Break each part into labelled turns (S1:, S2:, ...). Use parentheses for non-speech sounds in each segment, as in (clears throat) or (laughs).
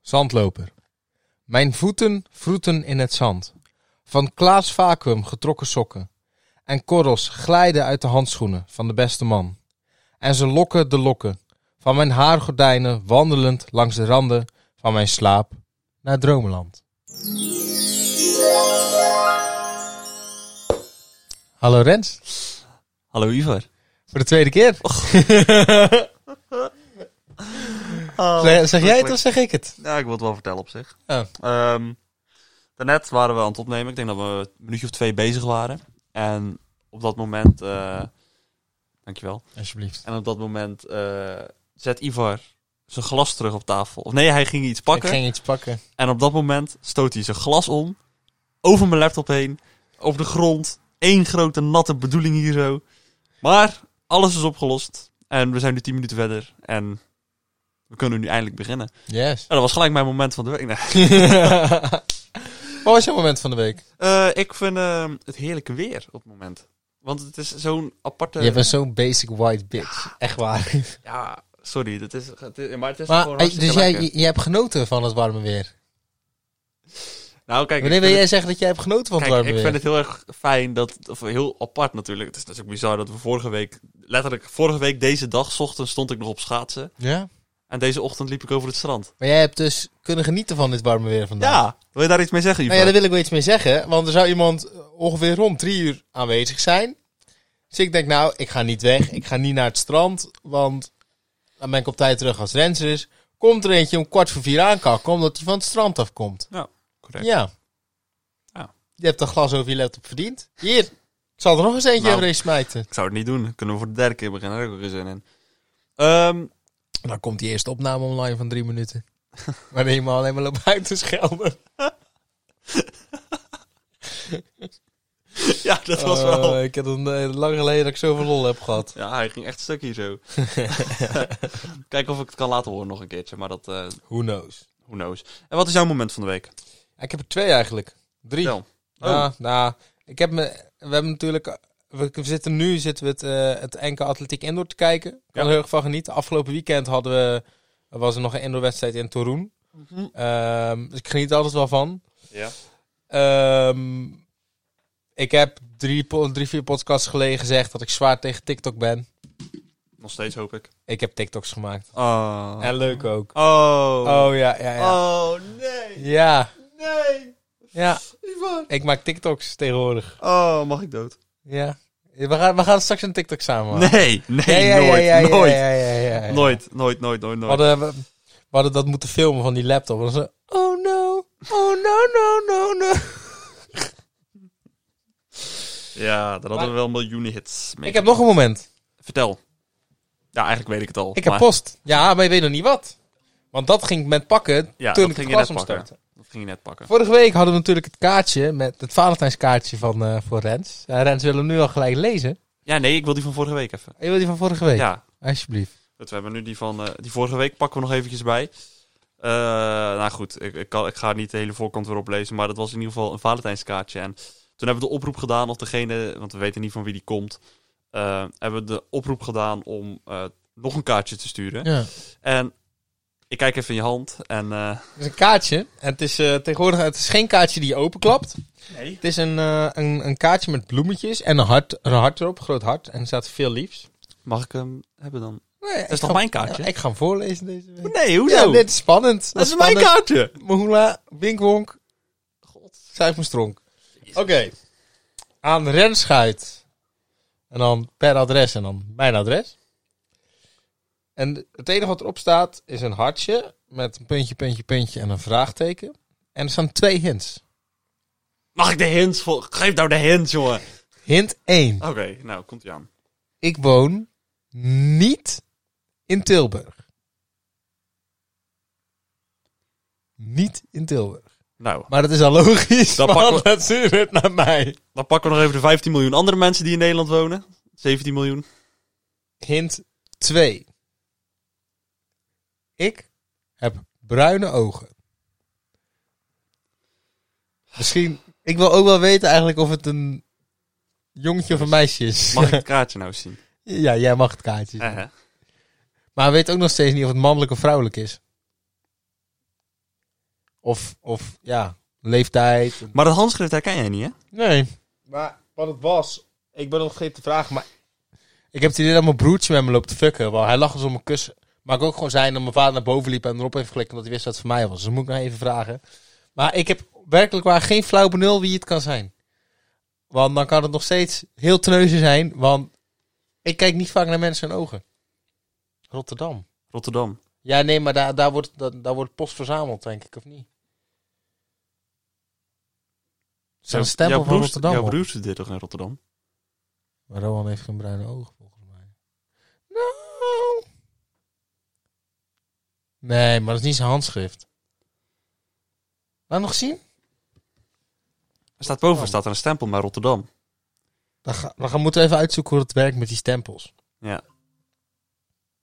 S1: Zandloper. Mijn voeten vroeten in het zand. Van Klaas vacuüm getrokken sokken. En korrels glijden uit de handschoenen van de beste man. En ze lokken de lokken van mijn haargordijnen wandelend langs de randen van mijn slaap naar Dromeland. Hallo Rens,
S2: Hallo Ivar.
S1: voor de tweede keer. zeg, zeg jij het of zeg ik het?
S2: Oh, Ja, ik wil het wel vertellen op zich.
S1: Oh.
S2: Ehm, daarnet waren we aan het opnemen. Ik denk dat we een minuutje of twee bezig waren. En op dat moment... eh, dankjewel.
S1: Alsjeblieft.
S2: En op dat moment eh, zet Ivar zijn glas terug op tafel. Of nee, hij ging iets pakken.
S1: Ik ging iets pakken.
S2: En op dat moment stoot hij zijn glas om. Over mijn laptop heen. Over de grond. Eén grote natte bedoeling hier zo. Maar alles is opgelost. En we zijn nu tien minuten verder. En we kunnen nu eindelijk beginnen.
S1: Yes.
S2: En dat was gelijk mijn moment van de week. Nee.
S1: Wat was jouw moment van de week?
S2: Eh, ik vind eh, het heerlijke weer op het moment. Want het is zo'n aparte...
S1: Je bent zo'n basic white bitch. Echt (laughs) waar.
S2: Ja, sorry. Dat is, het is- maar het is
S1: Maar,
S2: gewoon
S1: eh,
S2: hartstikke
S1: dus jij,
S2: lekker.
S1: j- jij hebt genoten van het warme weer.
S2: Nou, kijk, ik
S1: Wanneer wil
S2: vind
S1: jij zeggen dat jij hebt genoten van
S2: het,
S1: het
S2: kijk,
S1: warme
S2: ik
S1: weer?
S2: vind het heel erg fijn dat... Of heel apart natuurlijk. Het is natuurlijk bizar dat we vorige week... Letterlijk, vorige week deze dag, 's ochtends, stond ik nog op schaatsen.
S1: Ja?
S2: En deze ochtend liep ik over het strand.
S1: Maar jij hebt dus kunnen genieten van dit warme weer vandaag.
S2: Ja, wil je daar iets mee zeggen, Ivan?
S1: Nou ja, daar wil ik wel iets mee zeggen. Want er zou iemand eh, ongeveer rond drie uur aanwezig zijn. Dus ik denk, nou, ik ga niet weg. Ik ga niet naar het strand. Want dan ben ik op tijd terug als Rens er is. Komt er eentje om kwart voor vier aankakken, omdat hij van het strand afkomt.
S2: Correct.
S1: Ja.
S2: Ja.
S1: Je hebt een glas over je laptop verdiend. Hier, ik zal er nog eens eentje
S2: Nou.
S1: overheen smijten.
S2: Ik zou het niet doen. Kunnen we voor de derde keer beginnen. Daar heb ik ook geen zin in. Ehm,
S1: Dan komt die eerste opname online van drie (laughs) minuten. Waarin je me alleen maar op uit te schelden. (laughs)
S2: ja, dat was wel...
S1: Oh, ik heb een, eh, lang geleden dat ik zoveel lol heb gehad.
S2: Ja, hij ging echt stuk hier zo. (laughs) Kijken of ik het kan laten horen nog een keertje, maar dat, eh
S1: Who knows?
S2: who knows. En wat is jouw moment van de week?
S1: Ik heb er twee eigenlijk. Drie.
S2: Vertel. Oh.
S1: Ja, nou, ik heb me, we hebben natuurlijk, we zitten nu zitten we het, eh, het NK Atletiek Indoor te kijken. Ik kan
S2: Ja.
S1: er heel erg van genieten. Afgelopen weekend hadden we, was er nog een indoorwedstrijd in Torun. Ehm, dus ik geniet er altijd wel van.
S2: Ja.
S1: Ehm, ik heb drie, po- drie, vier podcasts geleden gezegd dat ik zwaar tegen TikTok ben.
S2: Nog steeds hoop ik.
S1: Ik heb TikToks gemaakt.
S2: Oh.
S1: En leuk ook.
S2: Oh.
S1: Oh ja, ja, ja.
S2: Oh, nee.
S1: Ja,
S2: Nee.
S1: ja.
S2: Ivan.
S1: Ik maak TikToks tegenwoordig.
S2: Oh, mag ik dood?
S1: Ja. We gaan, we gaan straks een TikTok samen maken.
S2: Nee, nee,
S1: Ja, ja, ja,
S2: nooit,
S1: ja, ja,
S2: nooit.
S1: ja, ja, ja, ja.
S2: Nooit, nooit, nooit, nooit,
S1: We
S2: nooit.
S1: hadden, we, we hadden dat moeten filmen van die laptop. En dan zo, oh no, oh no, no, no, no.
S2: Ja, daar hadden we wel miljoenen hits mee.
S1: Ik heb nog een moment.
S2: Vertel. Ja, eigenlijk weet ik het al.
S1: Ik heb
S2: maar-
S1: post. Ja, maar je weet nog niet wat. Want dat ging ik met pakken
S2: Ja,
S1: toen
S2: dat
S1: ik het
S2: ging je
S1: glas
S2: net pakken.
S1: omstartte.
S2: Dat ging je net pakken.
S1: Vorige week hadden we natuurlijk het kaartje, met het Valentijnskaartje van, eh, voor Rens. Eh, Rens wil hem nu al gelijk lezen.
S2: Ja, nee, ik wil die van vorige week even.
S1: Oh, Je wil die van vorige week?
S2: Ja,
S1: Alsjeblieft.
S2: Dat we hebben nu die van eh, die vorige week pakken we nog eventjes bij. Eh, nou goed, ik, ik, kan, ik ga niet de hele voorkant weer oplezen, maar dat was in ieder geval een Valentijnskaartje. En toen hebben we de oproep gedaan, of degene, want we weten niet van wie die komt, eh, hebben we de oproep gedaan om eh, nog een kaartje te sturen.
S1: Ja.
S2: En ik kijk even in je hand en... eh,
S1: Het is een kaartje. En het is eh, tegenwoordig het is geen kaartje die je openklapt. Het is een, eh, een, een kaartje met bloemetjes en een hart, een hart erop, een groot hart. En er staat veel liefs.
S2: Mag ik hem hebben dan?
S1: Nee, dat
S2: is toch mijn kaartje?
S1: Ik ga hem voorlezen deze week.
S2: Nee, hoezo?
S1: Ja, dit is spannend.
S2: dat is mijn kaartje!
S1: kaart. Mohula, winkwonk,
S2: God.
S1: zuig mijn stronk. Oké. Aan Renschuit. En dan per adres en dan mijn adres. En het enige wat erop staat is een hartje met een puntje, puntje, puntje en een vraagteken. En er staan twee hints.
S2: Mag ik de hints? vol- Geef nou de hints, jongen!
S1: Hint 1.
S2: Oké, nou, komt ie aan.
S1: Ik woon niet in Tilburg. Niet in Tilburg.
S2: Nou,
S1: Maar dat is al logisch.
S2: Dan
S1: Dan
S2: pakken
S1: want
S2: we-
S1: dat stuurt het naar mij.
S2: Dan pakken we nog even de 15 miljoen andere mensen die in Nederland wonen. 17 miljoen.
S1: Hint 2. Ik heb bruine ogen. Misschien. Ik wil ook wel weten eigenlijk of het een jongetje of een meisje is.
S2: Mag ik het kaartje nou eens zien?
S1: (laughs) Ja, jij mag het kaartje.
S2: Eh, hè.
S1: Maar we weten ook nog steeds niet of het mannelijk of vrouwelijk is. Of, of ja, leeftijd.
S2: Maar dat handschrift herken jij niet, hè?
S1: Nee. Maar wat het was, ik ben nog vergeten te vragen, maar ik heb het idee dat mijn broertje met me loopt te fucken. Want hij lag eens op mijn kussen. Maar ik ook gewoon zijn dat mijn vader naar boven liep en erop heeft geklikt, omdat hij wist dat het voor mij was. Dus dat moet ik nou even vragen. Maar ik heb werkelijk waar geen flauw benul wie het kan zijn. Want dan kan het nog steeds heel teneuzen zijn, want ik kijk niet vaak naar mensen hun ogen. Rotterdam.
S2: Rotterdam.
S1: Ja, nee, maar daar, daar, wordt, daar, daar wordt post verzameld, denk ik, of niet? Er staat een stempel
S2: jouw
S1: van
S2: broer-
S1: Rotterdam
S2: Jouw
S1: op.
S2: broer studeert toch in Rotterdam?
S1: Maar Rowan heeft geen bruine ogen, volgens mij. Nou. Nee, maar dat is niet zijn handschrift. Laat nog zien.
S2: Er staat boven
S1: Oh.
S2: staat er een stempel, maar Rotterdam.
S1: Dan ga, we gaan moeten even uitzoeken hoe het werkt met die stempels.
S2: Ja.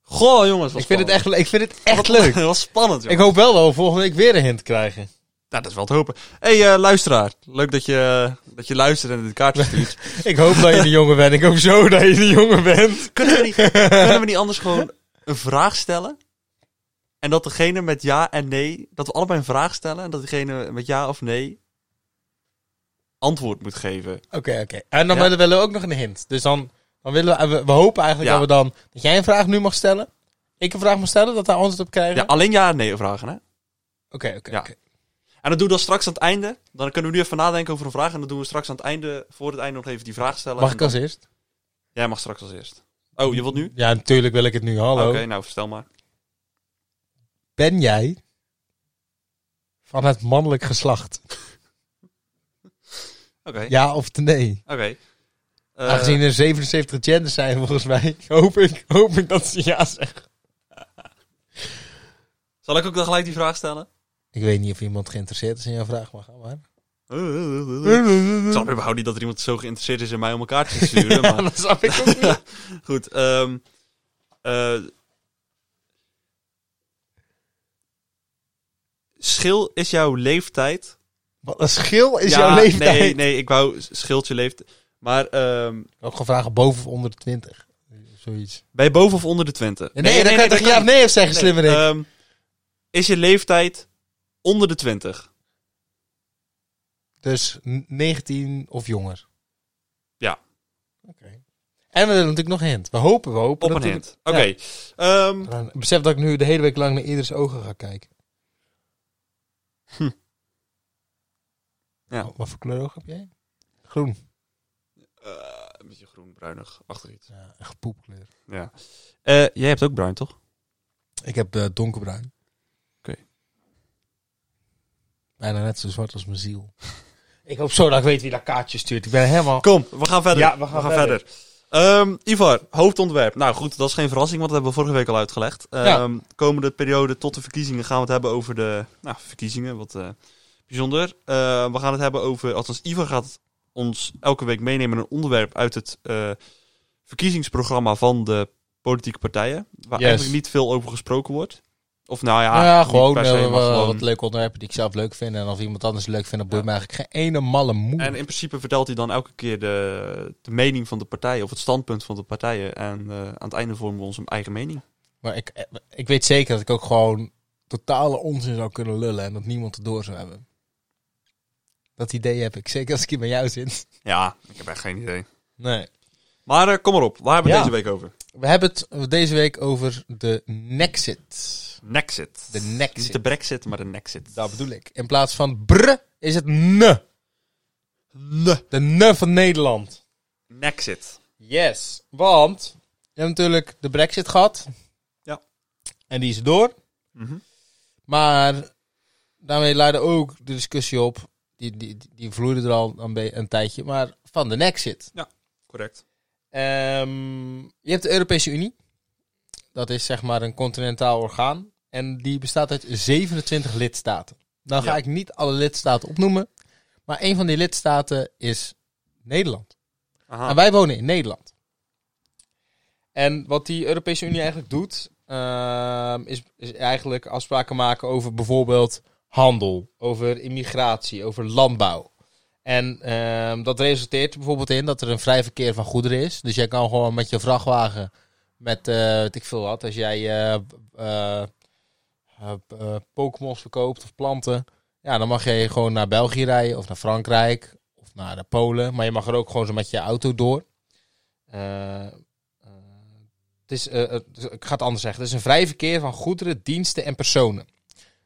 S2: Goh, jongens. wat
S1: Ik vind, het
S2: spannend.
S1: echt, le- ik vind het echt
S2: Wat-
S1: leuk.
S2: (laughs) Wat spannend, joh.
S1: Ik hoop wel dat we volgende week weer een hint krijgen.
S2: Nou, dat is wel te hopen. hey, eh, luisteraar. Leuk dat je, dat je luistert en
S1: (laughs)
S2: dit kaartje stuurt.
S1: Ik hoop dat je de jongen bent. Ik hoop zo dat je de jongen bent.
S2: kunnen, we niet, kunnen we niet anders gewoon een vraag stellen? En dat degene met ja en nee... Dat we allebei een vraag stellen en dat degene met ja of nee... antwoord moet geven.
S1: Oké, oké. En dan
S2: Ja.
S1: willen- willen we ook nog een hint. Dus dan, dan willen we, we, we hopen eigenlijk
S2: Ja.
S1: dat we dan... Dat jij een vraag nu mag stellen. Ik een vraag mag stellen, dat daar antwoord op krijgen.
S2: Ja, alleen ja en nee vragen, hè?
S1: Oké, oké,
S2: Ja.
S1: oké.
S2: En dat doen we dan straks aan het einde. Dan kunnen we nu even nadenken over een vraag. En dan doen we straks aan het einde, voor het einde nog even die vraag stellen.
S1: Mag
S2: En
S1: ik als eerst?
S2: dan- Jij mag straks als eerst. Oh, je wilt nu?
S1: Ja, natuurlijk wil ik het nu.
S2: Oké,
S1: Hallo.
S2: nou, verstel maar.
S1: Ben jij van het mannelijk geslacht?
S2: Oké,
S1: Ja of nee?
S2: oké. Eh,
S1: Aangezien er 77 genders zijn volgens mij, (laughs) hoop ik, hoop ik dat ze ja zeggen.
S2: Zal ik ook dan gelijk die vraag stellen?
S1: Ik weet niet of iemand geïnteresseerd is in jouw vraag, maar ga (laughs) maar. Mm.
S2: Ik snap überhaupt niet dat er iemand zo geïnteresseerd is in mij om een kaartje
S1: (laughs)
S2: te sturen. maar
S1: dat snap ik ook niet.
S2: goed. ehm, eh, schil is jouw
S1: (laughs)
S2: leeftijd
S1: Wat een schil is jouw leeftijd.
S2: Nee, nee, ik wou schildje leeftijd. Maar ehm
S1: Ook gewoon vragen boven of onder de 20. Of zoiets.
S2: bij boven of onder de 20?
S1: Nee, dan kan je toch ja of nee eh. of zeggen, slimmer ik.
S2: Ehm, is je leeftijd onder de 20?
S1: Dus n- 19 of jonger.
S2: Ja.
S1: Oké. En we willen natuurlijk nog een hint. We hopen, we hopen.
S2: Op een
S1: natuurlijk-
S2: hint. Oké. Ehm,
S1: Dan Besef dat ik nu de hele week lang naar ieders ogen ga kijken.
S2: Hm. Ja.
S1: Wat voor kleur oog heb jij? Groen.
S2: eh, een beetje groen-bruinig, achter iets.
S1: Ja, echt poepkleur.
S2: Ja. Eh, jij hebt ook bruin, toch?
S1: Ik heb eh, donkerbruin.
S2: Oké.
S1: Bijna net zo zwart als mijn ziel. (laughs) ik hoop zo dat ik weet wie dat kaartje stuurt. Ik ben helemaal...
S2: Kom, we gaan verder.
S1: Ja, we gaan verder.
S2: Ehm, Ivar, hoofdontwerp. Nou goed, dat is geen verrassing, want dat hebben we vorige week al uitgelegd. Ehm, Komende periode tot de verkiezingen gaan we het hebben over de nou, verkiezingen. Wat eh, bijzonder. Eh, we gaan het hebben over, althans Ivar gaat ons elke week meenemen in een onderwerp uit het eh, verkiezingsprogramma van de politieke partijen. Waar
S1: Yes.
S2: eigenlijk niet veel over gesproken wordt. Of nou ja,
S1: Nou ja,
S2: niet
S1: gewoon,
S2: per se,
S1: eh,
S2: maar
S1: wel
S2: gewoon-
S1: wat leuke onderwerpen die ik zelf leuk vind. En of iemand anders leuk vindt, dat boeit me eigenlijk geen ene malle moe.
S2: En in principe vertelt hij dan elke keer de, de mening van de partijen of het standpunt van de partijen. En eh, aan het einde vormen we onze eigen mening.
S1: Maar ik, eh, ik weet zeker dat ik ook gewoon totale onzin zou kunnen lullen en dat niemand het door zou hebben. Dat idee heb ik, zeker als ik hier bij jou zit.
S2: Ja, ik heb echt geen idee.
S1: Nee.
S2: Maar eh, kom maar op, waar hebben we
S1: Ja.
S2: deze week over?
S1: We hebben het deze week over de Nexit.
S2: Nexit.
S1: De
S2: Niet
S1: Nexit.
S2: de brexit, maar de Nexit.
S1: Daar bedoel ik. In plaats van br is het ne.
S2: Ne.
S1: De ne van Nederland.
S2: Nexit.
S1: Yes. Want je hebt natuurlijk de brexit gehad.
S2: Ja.
S1: En die is door.
S2: Mhm.
S1: Maar daarmee leidde ook de discussie op. Die, die, die vloeide er al een, be- een tijdje. Maar van de Nexit.
S2: Correct.
S1: Ehm, je hebt de Europese Unie. Dat is zeg maar een continentaal orgaan. En die bestaat uit 27 lidstaten. Nou ga
S2: Ja.
S1: ik niet alle lidstaten opnoemen. Maar een van die lidstaten is Nederland.
S2: Aha.
S1: En Nou, wij wonen in Nederland. En wat die Europese Unie eigenlijk doet, ehm, is, is eigenlijk afspraken maken over bijvoorbeeld handel, over immigratie, over landbouw. En ehm, dat resulteert er bijvoorbeeld in dat er een vrij verkeer van goederen is. Dus jij kan gewoon met je vrachtwagen, met eh weet ik veel wat, als jij eh, eh, eh, eh, Pokémons verkoopt of planten, Ja, dan mag je gewoon naar België rijden of naar Frankrijk of naar eh, Polen. Maar je mag er ook gewoon zo met je auto door. Eh, eh, het is, eh, het- ik ga het anders zeggen. Het is een vrij verkeer van goederen, diensten en personen.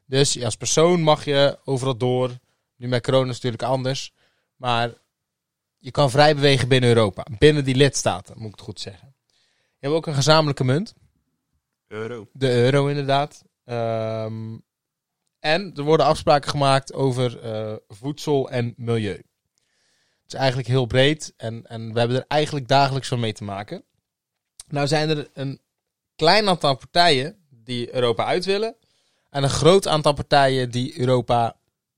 S1: Dus je als persoon mag je overal door. Nu met corona is het natuurlijk anders. Maar je kan vrij bewegen binnen Europa. Binnen die lidstaten, moet ik het goed zeggen. Je hebt ook een gezamenlijke munt.
S2: Euro.
S1: De euro inderdaad. Ehm, en er worden afspraken gemaakt over eh, voedsel en milieu. Het is eigenlijk heel breed en, en we hebben er eigenlijk dagelijks van mee te maken. Nou zijn er een klein aantal partijen die Europa uit willen. En een groot aantal partijen die Europa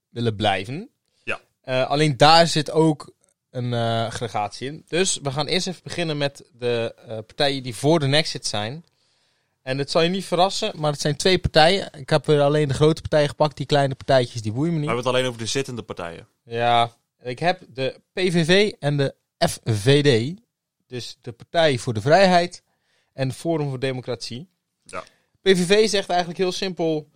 S1: willen blijven.
S2: Ja.
S1: Eh, alleen daar zit ook een eh, gradatie in. Dus we gaan eerst even beginnen met de eh, partijen die voor de Nexit zijn. En het zal je niet verrassen, maar het zijn twee partijen. Ik heb er alleen de grote partijen gepakt. Die kleine partijtjes, die boeien me
S2: We
S1: niet.
S2: hebben het alleen over de zittende partijen.
S1: Ja, ik heb de PVV en de FVD. Dus de Partij voor de Vrijheid en Forum voor Democratie.
S2: Ja.
S1: PVV zegt eigenlijk heel simpel...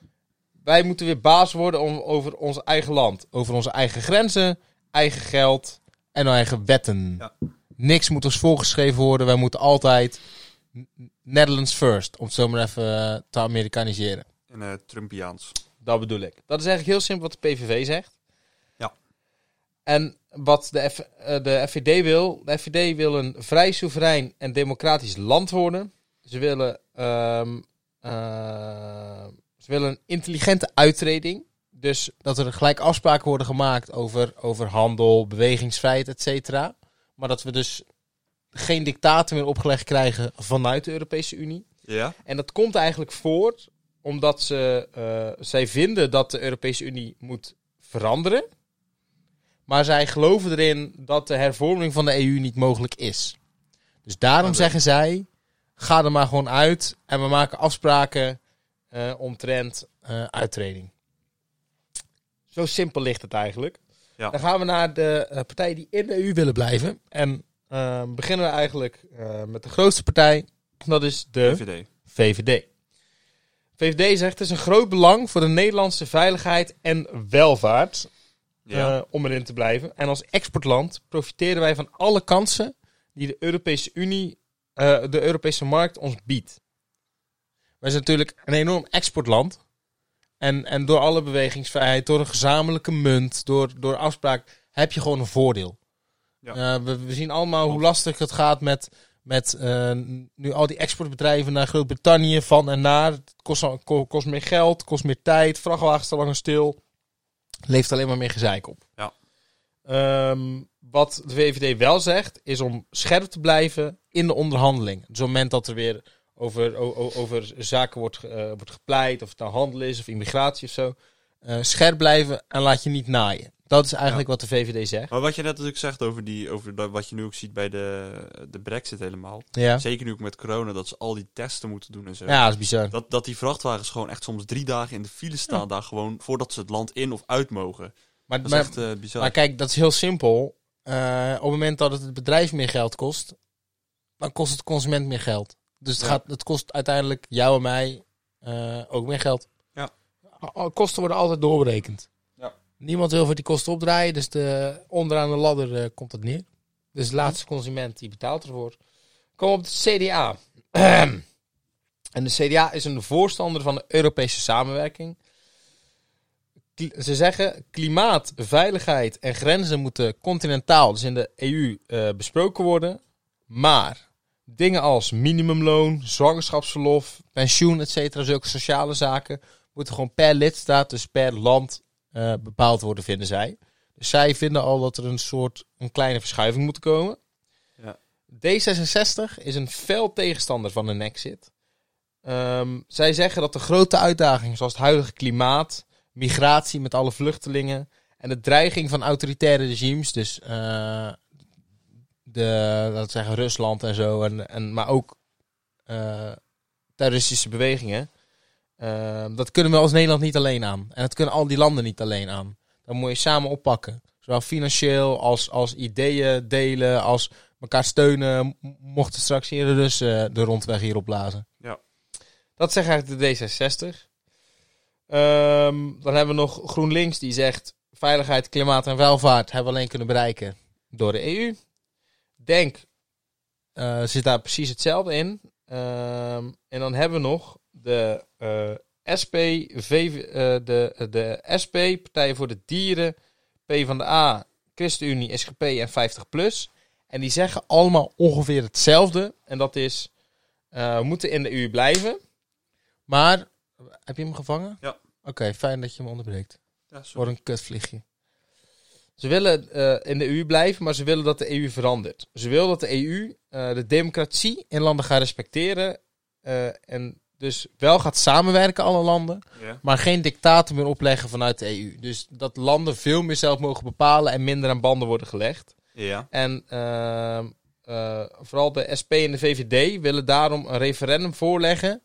S1: wij moeten weer baas worden om, over ons eigen land. Over onze eigen grenzen, eigen geld en eigen wetten.
S2: Ja.
S1: Niks moet ons voorgeschreven worden. Wij moeten altijd N- Netherlands first, om het zo maar even eh, te Amerikaniseren.
S2: En eh, Trumpiaans.
S1: Dat bedoel ik. Dat is eigenlijk heel simpel wat de PVV zegt.
S2: Ja.
S1: En wat de, F, eh, de FVD wil. De FVD wil een vrij, soeverein en democratisch land worden. Ze willen, ehm, eh, ze willen een intelligente uittreding. Dus dat er gelijk afspraken worden gemaakt over, over handel, bewegingsvrijheid, et cetera. Maar dat we dus geen dictaten meer opgelegd krijgen vanuit de Europese Unie.
S2: Ja?
S1: En dat komt eigenlijk voort omdat ze, eh, zij vinden dat de Europese Unie moet veranderen. Maar zij geloven erin dat de hervorming van de EU niet mogelijk is. Dus daarom
S2: Oké.
S1: zeggen zij, ga er maar gewoon uit en we maken afspraken eh, omtrent eh, uittreding. Zo simpel ligt het eigenlijk.
S2: Ja.
S1: Dan gaan we naar de eh, partijen die in de EU willen blijven. En eh, beginnen we eigenlijk eh, met de grootste partij. Dat is de
S2: VVD.
S1: VVD. VVD zegt het is een groot belang voor de Nederlandse veiligheid en welvaart
S2: Ja.
S1: eh, om erin te blijven. En als exportland profiteren wij van alle kansen die de Europese Unie, eh, de Europese markt ons biedt. Wij zijn natuurlijk een enorm exportland. En, en door alle bewegingsvrijheid, door een gezamenlijke munt, door, door afspraak, heb je gewoon een voordeel.
S2: Ja.
S1: Eh, we, we zien allemaal hoe lastig het gaat met, met eh, nu al die exportbedrijven naar Groot-Brittannië, van en naar. Het kost, al- ko- kost meer geld, kost meer tijd, vrachtwagens staan langer stil. Leeft alleen maar meer gezeik op.
S2: Ja.
S1: Ehm, wat de VVD wel zegt, is om scherp te blijven in de onderhandelingen. Dus op het moment dat er weer over, o- o- over zaken wordt, ge- eh, wordt gepleit, of het nou handel is of immigratie of zo. eh, scherp blijven en laat je niet naaien. Dat is eigenlijk wat de VVD zegt.
S2: Maar wat je net natuurlijk zegt over, die, over dat, wat je nu ook ziet bij de, de brexit helemaal.
S1: Ja,
S2: Zeker nu ook met corona, dat ze al die testen moeten doen en zo.
S1: ja dat is bizar.
S2: Dat, dat die vrachtwagens gewoon echt soms drie dagen in de file staan daar gewoon voordat ze het land in of uit mogen.
S1: Maar,
S2: Dat is
S1: maar,
S2: echt eh, bizar.
S1: maar kijk, dat is heel simpel. Eh, op het moment dat het het bedrijf meer geld kost, dan kost het consument meer geld. Dus het,
S2: Ja.
S1: gaat, het kost uiteindelijk jou en mij eh, ook meer geld.
S2: Ja.
S1: Al- al- Kosten worden altijd doorberekend.
S2: Ja.
S1: Niemand wil voor die kosten opdraaien, dus de, onderaan de ladder eh, komt het neer. Dus de laatste consument die betaalt ervoor. Kom op de CDA. (clears throat) en de CDA is een voorstander van de Europese samenwerking. Kli- Ze zeggen klimaat, veiligheid en grenzen moeten continentaal, dus in de EU, eh, besproken worden. Maar dingen als minimumloon, zwangerschapsverlof, pensioen, et cetera, zulke sociale zaken, moeten gewoon per lidstaat, dus per land, eh, bepaald worden, vinden zij. Dus zij vinden al dat er een soort een kleine verschuiving moet komen.
S2: Ja.
S1: D66 is een fel tegenstander van een exit. Ehm, zij zeggen dat de grote uitdagingen, zoals het huidige klimaat, migratie met alle vluchtelingen en de dreiging van autoritaire regimes, dus eh, de, dat zeggen Rusland en zo, en, en, maar ook eh, terroristische bewegingen. Ehm, dat kunnen we als Nederland niet alleen aan. En dat kunnen al die landen niet alleen aan. Dat moet je samen oppakken. Zowel financieel als, als ideeën delen, als elkaar steunen. m- Mochten straks hier de Russen de rondweg hierop blazen.
S2: Ja.
S1: Dat zegt eigenlijk de D66. Ehm, dan hebben we nog GroenLinks die zegt... Veiligheid, klimaat en welvaart hebben we alleen kunnen bereiken door de EU. Denk eh, zit daar precies hetzelfde in. Ehm, en dan hebben we nog de eh, SP, VV, eh, de, de SP, Partij voor de Dieren, PvdA, ChristenUnie, SGP en 50PLUS. En die zeggen allemaal ongeveer hetzelfde. En dat is, eh, we moeten in de EU blijven. Maar, heb je hem gevangen?
S2: Ja.
S1: Oké, fijn dat je me onderbreekt.
S2: Ja,
S1: Voor een kutvliegje. Ze willen eh, in de EU blijven, maar ze willen dat de EU verandert. Ze wil dat de EU eh, de democratie in landen gaat respecteren. eh, en dus wel gaat samenwerken, alle landen.
S2: Ja.
S1: Maar geen dictaten meer opleggen vanuit de EU. Dus dat landen veel meer zelf mogen bepalen en minder aan banden worden gelegd.
S2: ja.
S1: En ehm, eh, vooral de SP en de VVD willen daarom een referendum voorleggen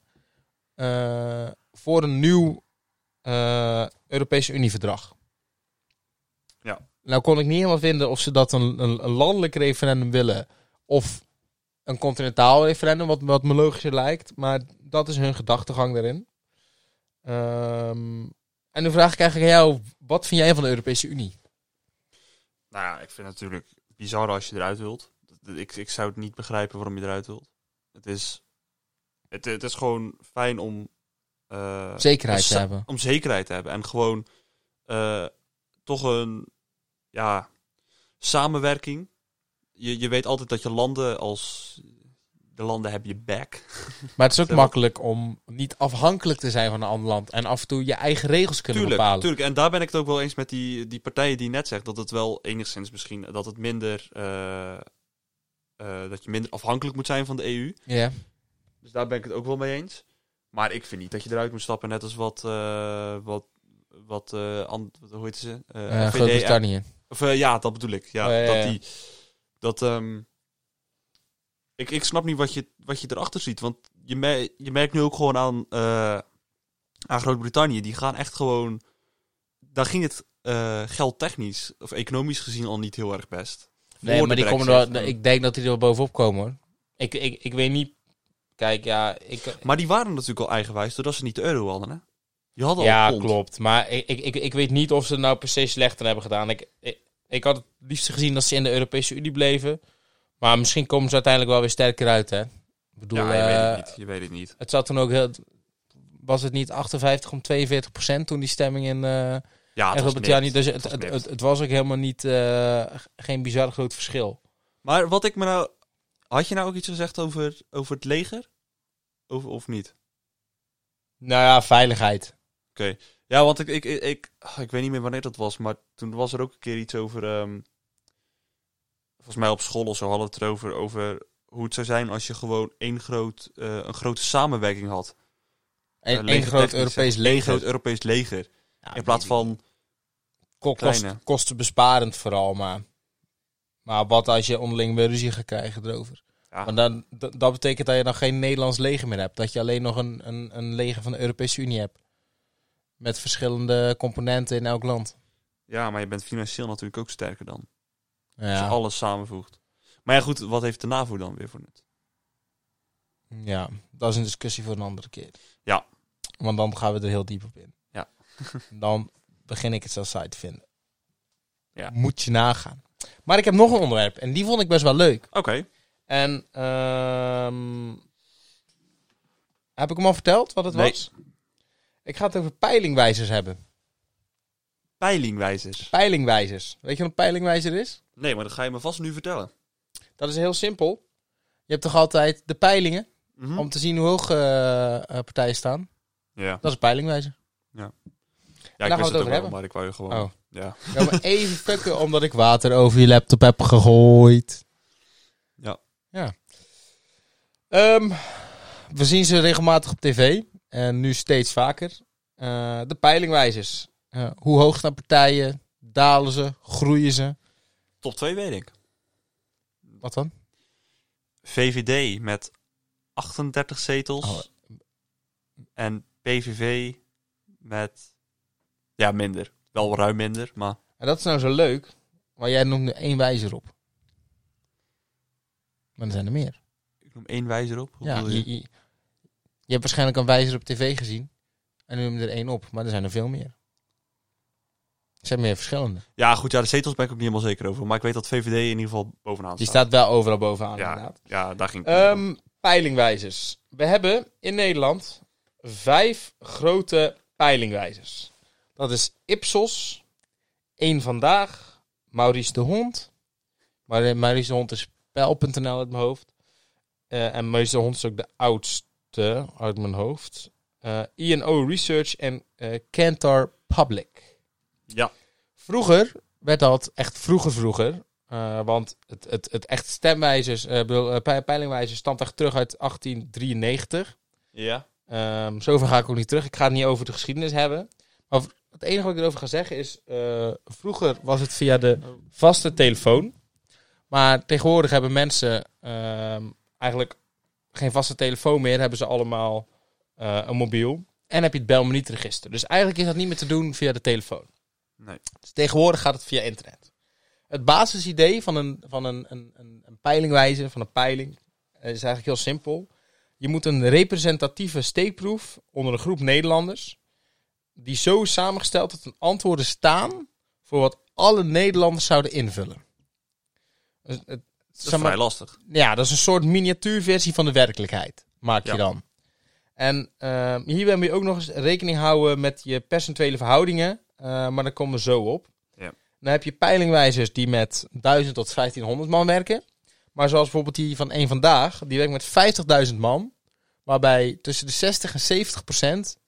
S1: eh, voor een nieuw eh, Europese Unieverdrag.
S2: Ja.
S1: Nou kon ik niet helemaal vinden of ze dat een, een, een landelijk referendum willen of een continentaal referendum, wat, wat me logischer lijkt. Maar dat is hun gedachtegang daarin. Ehm, en dan vraag ik eigenlijk aan jou, wat vind jij van de Europese Unie?
S2: Nou ja, ik vind het natuurlijk bizar als je eruit wilt. Ik, ik zou het niet begrijpen waarom je eruit wilt. Het is, het, het is gewoon fijn om... eh,
S1: Zekerheid
S2: een
S1: te
S2: sa-
S1: hebben.
S2: Om zekerheid te hebben. En gewoon eh, toch een ja, samenwerking. Je, je weet altijd dat je landen als... De landen hebben je back.
S1: Maar het is ook
S2: Zo.
S1: makkelijk om niet afhankelijk te zijn van een ander land. En af en toe je eigen regels kunnen
S2: tuurlijk,
S1: bepalen.
S2: Tuurlijk, en daar ben ik het ook wel eens met die, die partijen die net zegt dat het wel enigszins misschien dat het minder eh, eh, dat je minder afhankelijk moet zijn van de EU.
S1: Ja.
S2: Dus daar ben ik het ook wel mee eens. Maar ik vind niet dat je eruit moet stappen, net als wat eh, wat wat eh, and- wat- hoe heet ze? Eh,
S1: Eh,
S2: NVD,
S1: Groot-Brittannië.
S2: of, eh, ja, dat bedoel ik. Ja,
S1: Oh, ja, ja, ja.
S2: dat die dat ehm, ik, ik snap niet wat je, wat je erachter ziet. Want je, me- je merkt nu ook gewoon aan, eh, aan Groot-Brittannië. Die gaan echt gewoon. Daar ging het eh, geldtechnisch of economisch gezien al niet heel erg best.
S1: Nee,
S2: Voor
S1: maar
S2: de
S1: die komen er,
S2: Brexit. eh.
S1: wel- ik denk dat die er wel bovenop komen hoor. Ik, ik, ik weet niet. Kijk, ja. Ik,
S2: Maar die waren natuurlijk al eigenwijs doordat ze niet de euro hadden. Hè? Je hadden
S1: ja,
S2: al pond.
S1: klopt. Maar ik, ik, ik, ik weet niet of ze het nou per se slechter hebben gedaan. Ik, ik, ik had het liefst gezien dat ze in de Europese Unie bleven. Maar misschien komen ze uiteindelijk wel weer sterker uit, hè? Ik bedoel,
S2: Ja, je weet
S1: eh,
S2: het niet. Je weet het niet.
S1: het zat toen ook heel. Was het niet 58 om 42 procent toen die stemming in. eh,
S2: Ja, Ah, het
S1: en
S2: was
S1: Groot-Brittannië.
S2: niks.
S1: Dus het,
S2: was
S1: het,
S2: nipt.
S1: het, het was ook helemaal niet. eh, geen bizar groot verschil.
S2: Maar wat ik me nou. Had je nou ook iets gezegd over, over het leger? Of, of niet?
S1: Nou ja, veiligheid.
S2: Ja, want ik, ik, ik, ik, ah, ik weet niet meer wanneer dat was, maar toen was er ook een keer iets over. ehm, volgens mij op school of zo hadden we het erover. Over hoe het zou zijn als je gewoon één groot, eh, een grote samenwerking had. Eh,
S1: Een,
S2: leger
S1: groot
S2: technisch,
S1: Europees
S2: hè. Eén
S1: leger.
S2: groot Ah, Europees leger.
S1: Ja,
S2: in plaats van.
S1: ko- kost,
S2: kleine.
S1: kostenbesparend vooral, maar. Maar wat als je onderling weer ruzie gaat krijgen erover?
S2: Ja,
S1: Want dan, d- dat betekent dat je dan geen Nederlands leger meer hebt. Dat je alleen nog een, een, een leger van de Europese Unie hebt. Met verschillende componenten in elk land.
S2: ja, maar je bent financieel natuurlijk ook sterker dan. Als je
S1: Ja,
S2: alles samenvoegt. Maar ja, goed, wat heeft de NAVO dan weer voor nut?
S1: ja, dat is een discussie voor een andere keer.
S2: Ja.
S1: Want dan gaan we er heel diep op in.
S2: Ja.
S1: (laughs) dan begin ik het zelfs saai te vinden.
S2: Ja.
S1: Moet je nagaan. Maar ik heb nog een onderwerp. En die vond ik best wel leuk.
S2: Oké.
S1: En ehm, heb ik hem al verteld wat het
S2: Nee.
S1: was? Ik ga het over peilingwijzers hebben.
S2: Peilingwijzers.
S1: Peilingwijzers. Weet je wat een peilingwijzer is?
S2: Nee, maar dat ga je me vast nu vertellen.
S1: Dat is heel simpel. Je hebt toch altijd de peilingen
S2: Mhm.
S1: om te zien hoe hoog eh, eh, partijen staan.
S2: Ja,
S1: Dat is een peilingwijzer.
S2: ja
S1: gaan
S2: ik
S1: we het
S2: wist
S1: over
S2: het ook wel,
S1: hebben.
S2: maar ik wou je gewoon.
S1: Oh.
S2: Ja.
S1: Ik ga me even fucken omdat ik water over je laptop heb gegooid.
S2: Ja.
S1: Ja. Ehm, we zien ze regelmatig op tv. En nu steeds vaker. Eh, de peilingwijzers. Eh, hoe hoog staan partijen? Dalen ze? Groeien ze?
S2: Top 2 weet ik.
S1: Wat dan?
S2: VVD met 38 zetels.
S1: Oh.
S2: En PVV met. Ja, minder. Wel ruim minder, maar.
S1: En dat is nou zo leuk. Maar jij noemt nu één wijzer op. Maar er zijn er meer.
S2: Ik noem één wijzer op. Hoe
S1: Ja,
S2: bedoel
S1: je,
S2: je?
S1: je, je hebt waarschijnlijk een wijzer op tv gezien. En En nu hebben we er één op, maar er zijn er veel meer. Er zijn meer verschillende.
S2: Ja, goed, ja, de zetels ben ik ook niet helemaal zeker over. Maar ik weet dat VVD in ieder geval bovenaan
S1: Die
S2: staat.
S1: staat wel overal bovenaan
S2: Ja.
S1: inderdaad.
S2: Ja, daar ging het om.
S1: Ehm, peilingwijzers. We hebben in Nederland vijf grote peilingwijzers. Dat is Ipsos, Eén Vandaag, Maurice de Hond. Maar eh, Maurice de Hond is pijl.nl uit mijn hoofd. Eh, en Maurice de Hond is ook de oudste uit mijn hoofd. Eh INO Research en eh Kantar Public.
S2: Ja.
S1: Vroeger werd dat echt vroeger vroeger. eh, want het, het, het echt stemwijzers, eh, bedoel, eh, pe- peilingwijzers stamt echt terug uit 1893.
S2: Ja.
S1: Ehm zover ga ik ook niet terug. Ik ga het niet over de geschiedenis hebben. Maar v- het enige wat ik erover ga zeggen is... eh, vroeger was het via de vaste telefoon. Maar tegenwoordig hebben mensen ehm, eigenlijk geen vaste telefoon meer. Hebben ze allemaal eh, een mobiel. En heb je het belminuutregister. Dus eigenlijk is dat niet meer te doen via de telefoon.
S2: Nee.
S1: Dus tegenwoordig gaat het via internet. Het basisidee van een, van een, een, een, een peilingwijzer, van een peiling, eh, is eigenlijk heel simpel. Je moet een representatieve steekproef onder een groep Nederlanders, die zo is samengesteld dat een antwoorden staan voor wat alle Nederlanders zouden invullen. Dus het,
S2: Dat is
S1: zeg maar-
S2: vrij lastig.
S1: ja, dat is een soort miniatuurversie van de werkelijkheid, maak je
S2: Ja.
S1: dan. En eh, hierbij moet je ook nog eens rekening houden met je percentuele verhoudingen, eh, maar daar komen we zo op.
S2: Ja.
S1: Dan heb je peilingwijzers die met 1000 tot 1500 man werken. Maar zoals bijvoorbeeld die van één vandaag, die werkt met 50.000 man. Waarbij tussen de 60 en 70 procent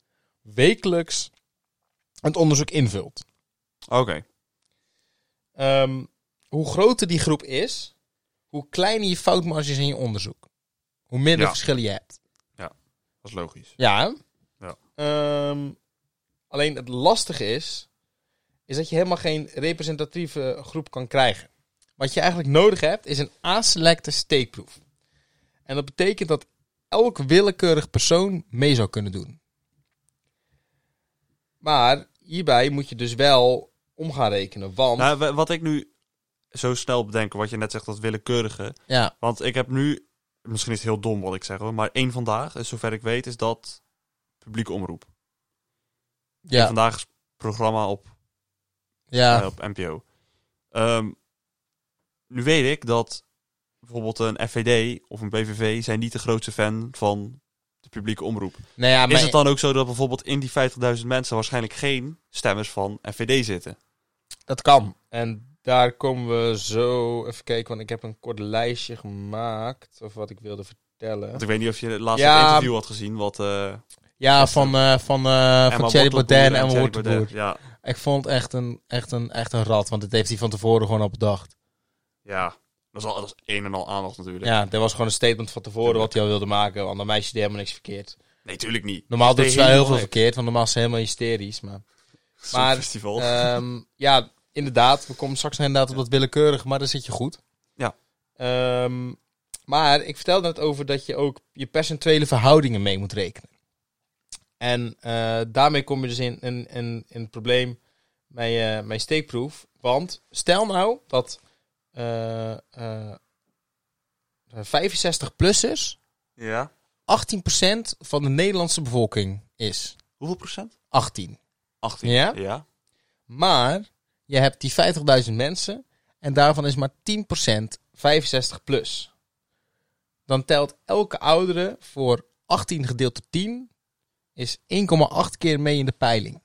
S1: wekelijks het onderzoek invult.
S2: Oké.
S1: Ehm, hoe groter die groep is, hoe kleiner je foutmarges in je onderzoek. Hoe minder
S2: Ja.
S1: verschillen je hebt.
S2: Dat is logisch.
S1: Ja. hè?
S2: Ja.
S1: Ehm, alleen het lastige is, is dat je helemaal geen representatieve groep kan krijgen. Wat je eigenlijk nodig hebt, is een aselecte steekproef. En dat betekent dat elk willekeurig persoon mee zou kunnen doen. Maar hierbij moet je dus wel om gaan rekenen, want...
S2: Nou, wa- wat ik nu zo snel bedenk, wat je net zegt, dat willekeurige.
S1: ja.
S2: Want ik heb nu, misschien is het heel dom wat ik zeg hoor, maar één vandaag, eh, zover ik weet, is dat publieke omroep.
S1: Ja,
S2: Vandaag is programma op
S1: ja,
S2: eh, op NPO. Ehm, nu weet ik dat bijvoorbeeld een FVD of een BVV zijn niet de grootste fan van de publieke omroep.
S1: nou ja, maar
S2: Is het dan ook zo dat bijvoorbeeld in die 50.000 mensen waarschijnlijk geen stemmers van FVD zitten?
S1: dat kan. En daar komen we zo even kijken, want ik heb een kort lijstje gemaakt of wat ik wilde vertellen.
S2: Want ik weet niet of je het laatste
S1: Ja.
S2: interview had gezien wat eh
S1: Ja, van, eh van, eh van
S2: Emma
S1: Thierry
S2: Wortelboer
S1: Baudet en Emma
S2: Thierry
S1: Wortelboer.
S2: Baudet- Ja,
S1: Ik vond echt een, echt, een, echt een rat, want dat heeft hij van tevoren gewoon al bedacht.
S2: ja. Dat is, al, dat is een en al aandacht natuurlijk.
S1: Ja, dat was gewoon een statement van tevoren wat hij al wilde maken, want een meisje deed helemaal niks verkeerd.
S2: Nee, tuurlijk niet.
S1: Normaal
S2: Dat
S1: doet
S2: is
S1: ze wel heel
S2: helemaal
S1: veel
S2: gek.
S1: verkeerd, want normaal is ze helemaal hysterisch, maar...
S2: (laughs) Zo'n
S1: Maar,
S2: festival.
S1: Ehm, ja, inderdaad. We komen straks inderdaad op dat willekeurig, maar daar zit je goed.
S2: Ja.
S1: Ehm, maar ik vertelde net over dat je ook je percentuele verhoudingen mee moet rekenen. En eh, daarmee kom je dus in, in, in, in het probleem met eh, mijn steekproef. Want stel nou dat eh eh 65-plussers
S2: ja.
S1: 18% van de Nederlandse bevolking is.
S2: Hoeveel procent?
S1: 18.
S2: 18.
S1: Ja?
S2: ja.
S1: Maar je hebt die 50.000 mensen en daarvan is maar 10% 65 plus. Dan telt elke oudere voor 18 gedeeld door 10 is 1,8 keer mee in de peiling.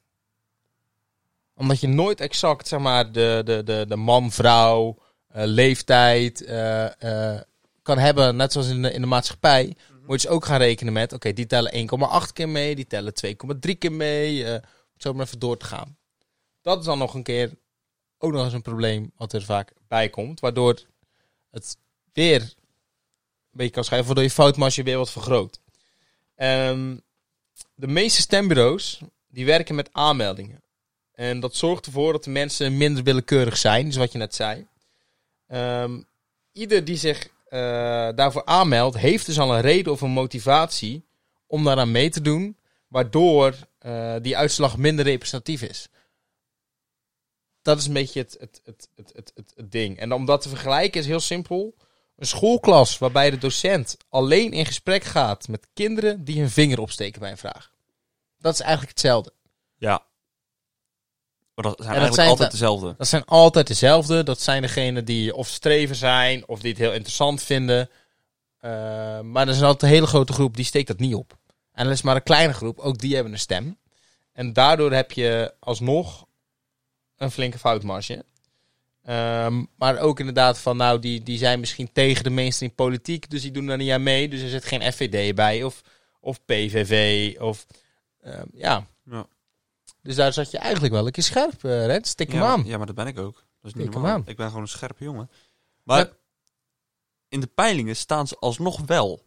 S1: Omdat je nooit exact zeg maar, de, de, de, de man, vrouw, eh, leeftijd eh, eh, kan hebben, net zoals in de, in de maatschappij. Moet je dus ook gaan rekenen met, oké, die tellen 1,8 keer mee, die tellen 2,3 keer mee. eh, om zo maar even door te gaan dat is dan nog een keer ook nog eens een probleem wat er vaak bij komt. Waardoor het weer een beetje kan schrijven, waardoor je foutmarge weer wat vergroot. Ehm, de meeste stembureaus die werken met aanmeldingen. En dat zorgt ervoor dat de mensen minder willekeurig zijn, dus wat je net zei. Ehm, ieder die zich eh, daarvoor aanmeldt, heeft dus al een reden of een motivatie om daaraan mee te doen, waardoor eh, die uitslag minder representatief is dat is een beetje het, het, het, het, het, het, het ding. En om dat te vergelijken is heel simpel. Een schoolklas waarbij de docent alleen in gesprek gaat met kinderen die hun vinger opsteken bij een vraag. Dat is eigenlijk hetzelfde.
S2: Ja. Maar dat zijn
S1: dat
S2: eigenlijk
S1: zijn
S2: altijd
S1: de-
S2: dezelfde.
S1: Dat zijn altijd dezelfde. Dat zijn degenen die of streven zijn of die het heel interessant vinden. Eh, maar er is altijd een hele grote groep die steekt dat niet op. En er is maar een kleine groep, ook die hebben een stem. En daardoor heb je alsnog een flinke foutmarge. Ehm, maar ook inderdaad van, nou, die, die zijn misschien tegen de mainstream politiek, dus die doen daar niet aan mee. Dus er zit geen FVD bij, of, of PVV, of ehm, ja.
S2: Ja.
S1: Dus daar zat je eigenlijk wel een keer scherp, eh Red. Stik hem
S2: ja,
S1: aan.
S2: maar- Ja, maar dat ben ik ook. Dat is niet
S1: Tik hem
S2: normaal.
S1: aan.
S2: Ik ben gewoon een scherpe jongen. Maar
S1: Ja.
S2: in de peilingen staan ze alsnog wel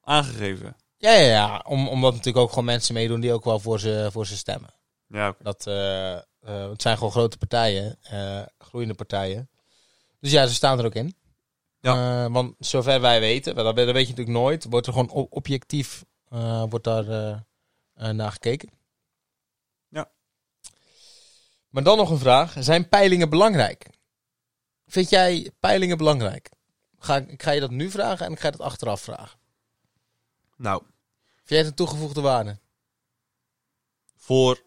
S2: aangegeven.
S1: Ja, ja, ja. Om, omdat natuurlijk ook gewoon mensen meedoen die ook wel voor ze, voor ze stemmen.
S2: Ja, oké.
S1: Dat, eh, eh, het zijn gewoon grote partijen, eh, groeiende partijen. Dus ja, ze staan er ook in. Ja. want zover wij weten, wel, dat weet dat weet je natuurlijk nooit, wordt er gewoon o- objectief eh, wordt daar, eh, eh, naar gekeken.
S2: Ja.
S1: Maar dan nog een vraag. Zijn peilingen belangrijk? Vind jij peilingen belangrijk? Ga, ik- ik ga je dat nu vragen en ik ga je dat achteraf vragen.
S2: Nou,
S1: Vind jij het een toegevoegde waarde?
S2: voor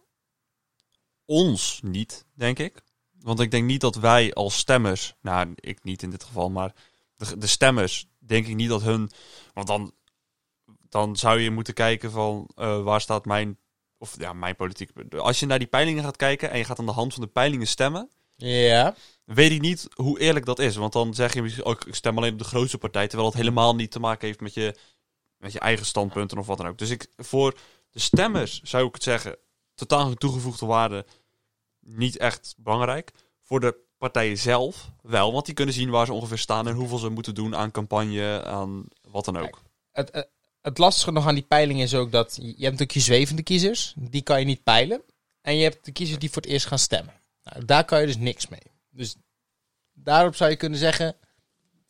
S2: ons niet, denk ik. Want ik denk niet dat wij als stemmers, nou, ik niet in dit geval, maar de, de stemmers, denk ik niet dat hun. Want dan, dan zou je moeten kijken van eh, waar staat mijn. Of ja, mijn politiek. Als je naar die peilingen gaat kijken en je gaat aan de hand van de peilingen stemmen,
S1: Ja.
S2: weet ik niet hoe eerlijk dat is. Want dan zeg je misschien ook, ik stem alleen op de grootste partij. Terwijl dat helemaal niet te maken heeft met je, met je eigen standpunten of wat dan ook. Dus ik, voor de stemmers zou ik het zeggen, totaal geen toegevoegde waarde. Niet echt belangrijk. Voor de partijen zelf wel, want die kunnen zien waar ze ongeveer staan en hoeveel ze moeten doen aan campagne, aan wat dan ook.
S1: het, het- het lastige nog aan die peiling is ook dat je je hebt natuurlijk je zwevende kiezers, die kan je niet peilen. En je hebt de kiezers die voor het eerst gaan stemmen. Nou, daar kan je dus niks mee. Dus daarop zou je kunnen zeggen,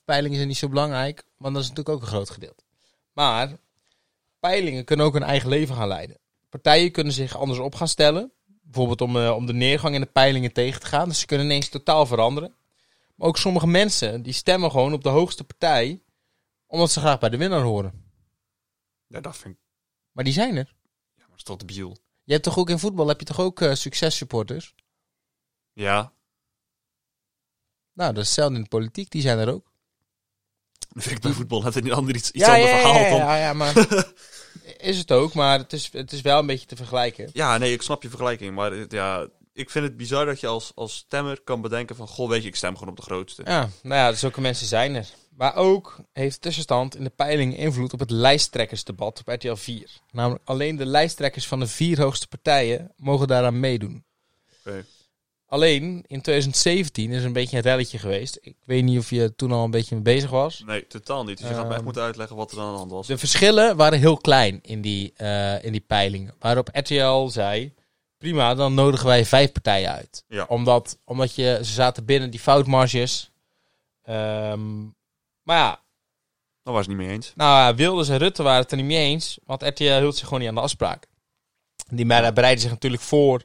S1: peilingen zijn niet zo belangrijk, want dat is natuurlijk ook een groot gedeelte. Maar peilingen kunnen ook een eigen leven gaan leiden. Partijen kunnen zich anders op gaan stellen, bijvoorbeeld om, eh, om de neergang in de peilingen tegen te gaan. Dus ze kunnen ineens totaal veranderen. Maar ook sommige mensen, die stemmen gewoon op de hoogste partij, omdat ze graag bij de winnaar horen.
S2: Ja, dat vind ik.
S1: Maar die zijn er.
S2: Ja, maar dat is toch debiel.
S1: Je hebt toch ook in voetbal heb je toch ook eh, successupporters?
S2: Ja,
S1: Nou, dat is hetzelfde in de politiek, die zijn er ook.
S2: dan vind ik bij voetbal net een ander iets, iets ander verhaal dan.
S1: ja, ja, maar (laughs) is het ook, maar het is, het is wel een beetje te vergelijken.
S2: Ja, nee, ik snap je vergelijking. Maar eh, ja, ik vind het bizar dat je als, als stemmer kan bedenken van... Goh, weet je, ik stem gewoon op de grootste.
S1: Ja, nou ja, zulke mensen zijn er. Maar ook heeft tussenstand in de peiling invloed op het lijsttrekkersdebat op RTL 4. Namelijk alleen de lijsttrekkers van de vier hoogste partijen mogen daaraan meedoen.
S2: Oké.
S1: Alleen in 2017 is er een beetje een relletje geweest. Ik weet niet of je toen al een beetje mee bezig was.
S2: Nee, totaal niet. Dus je gaat me echt
S1: Ehm,
S2: moeten uitleggen wat er aan de hand was.
S1: De verschillen waren heel klein in die, eh, in die peiling. Waarop RTL zei: prima, dan nodigen wij vijf partijen uit.
S2: Ja.
S1: Omdat, omdat je, ze zaten binnen die foutmarges. Ehm, maar ja,
S2: Dat was het niet mee eens.
S1: nou, ja, Wilders en Rutte waren het er niet mee eens. Want RTL hield zich gewoon niet aan de afspraak. Die meiden bereiden zich natuurlijk voor.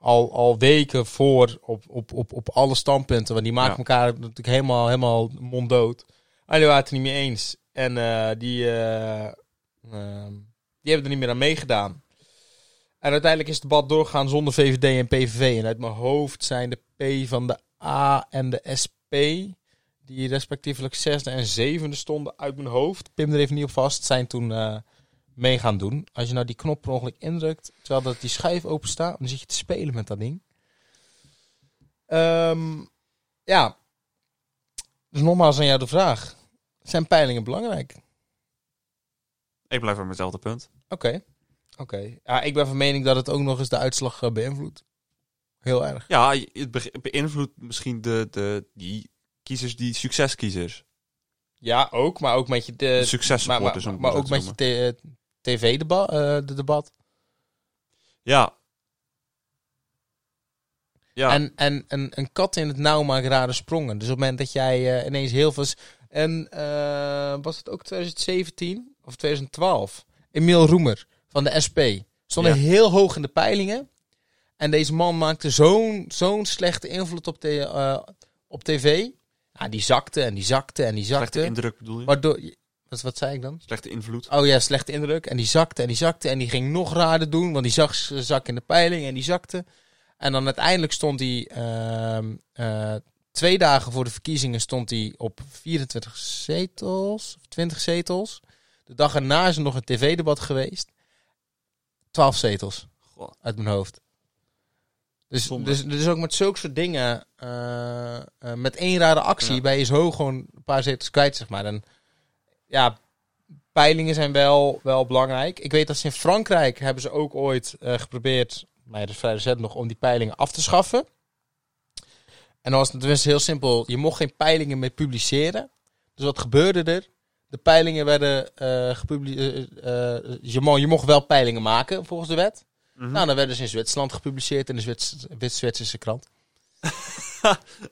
S1: Al, al weken voor op, op, op, op alle standpunten. Want die maken
S2: Ja.
S1: elkaar natuurlijk helemaal, helemaal monddood. En die waren het er niet mee eens. En eh, die, eh, ehm, die hebben er niet meer aan meegedaan. En uiteindelijk is het debat doorgegaan zonder VVD en PVV. En uit mijn hoofd zijn de P van de A en de SP die respectievelijk zesde en zevende stonden uit mijn hoofd. Pim er even niet op vast. Zijn toen eh, mee gaan doen. Als je nou die knop per ongeluk indrukt, terwijl dat die schijf open staat, dan zit je te spelen met dat ding. Ehm, ja. Dus nogmaals aan jou de vraag. Zijn peilingen belangrijk?
S2: Ik blijf bij mijnzelfde punt.
S1: Oké. Oké. Ja, ik ben van mening dat het ook nog eens de uitslag eh, beïnvloedt. Heel erg.
S2: Ja, je- het be- beïnvloedt misschien de, de, die kiezers, die succeskiezers.
S1: Ja, ook. Eh, Maar ook met je...
S2: De
S1: De, maar, maar,
S2: successupporters, om
S1: maar,
S2: het zo
S1: ook
S2: te
S1: met je
S2: noemen.
S1: tv-debat. eh, de debat.
S2: Ja. Ja,
S1: En, en, en een kat in het nauw maakt rare sprongen. Dus op het moment dat jij eh, ineens heel veel... s- En eh, was het ook 2017 of 2012? Emiel Roemer van de SP. Stond
S2: Ja.
S1: heel hoog in de peilingen. En deze man maakte zo'n zo'n slechte invloed op, de, eh, op tv. Ja, die zakte en die zakte en die
S2: slechte
S1: zakte.
S2: indruk bedoel je?
S1: Waardoor, Wat, wat zei ik dan?
S2: Slechte invloed.
S1: Oh ja, slechte indruk. En die zakte en die zakte. En die ging nog raarder doen. Want die zag z- zak in de peiling en die zakte. En dan uiteindelijk stond hij... ehm, eh, twee dagen voor de verkiezingen stond hij op 24 zetels. Of 20 zetels. De dag erna is er nog een tv-debat geweest. 12 zetels
S2: Goh.
S1: uit mijn hoofd. Dus,
S2: Zonde.
S1: dus, dus ook met zulke soort dingen, eh, eh, met één rare actie,
S2: Ja.
S1: bij is hoog gewoon een paar zetels kwijt, zeg maar. En ja, peilingen zijn wel, wel belangrijk. Ik weet dat ze in Frankrijk hebben ze ook ooit eh, geprobeerd, maar ja, dat is vrij recent nog, om die peilingen af te schaffen. En dan was het tenminste heel simpel, je mocht geen peilingen meer publiceren. Dus wat gebeurde er? De peilingen werden eh gepubliceerd. je, mo- je mocht wel peilingen maken volgens de wet.
S2: Mhm.
S1: Nou, dan werden ze in Zwitserland gepubliceerd in de Zwits- Wit- Zwitserse krant.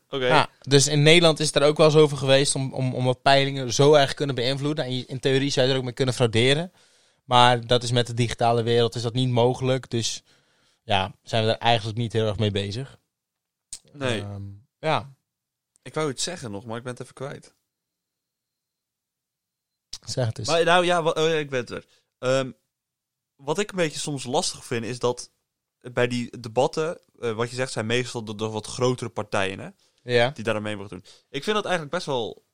S2: Oké.
S1: Ja, dus in Nederland is het er ook wel eens over geweest om, om, om wat peilingen zo erg kunnen beïnvloeden. En je- in theorie zou je er ook mee kunnen frauderen. Maar dat is met de digitale wereld is dat niet mogelijk. Dus ja, zijn we daar eigenlijk niet heel erg mee bezig.
S2: Nee.
S1: Ehm, ja,
S2: Ik wou iets zeggen nog, maar ik ben het even kwijt.
S1: zeg het eens.
S2: Maar nou ja, wa- oh ja, ik ben het er. Ehm, wat ik een beetje soms lastig vind is dat bij die debatten, eh, wat je zegt, zijn meestal de, de wat grotere partijen hè,
S1: Ja.
S2: die daar aan mee mogen doen. Ik vind dat eigenlijk best wel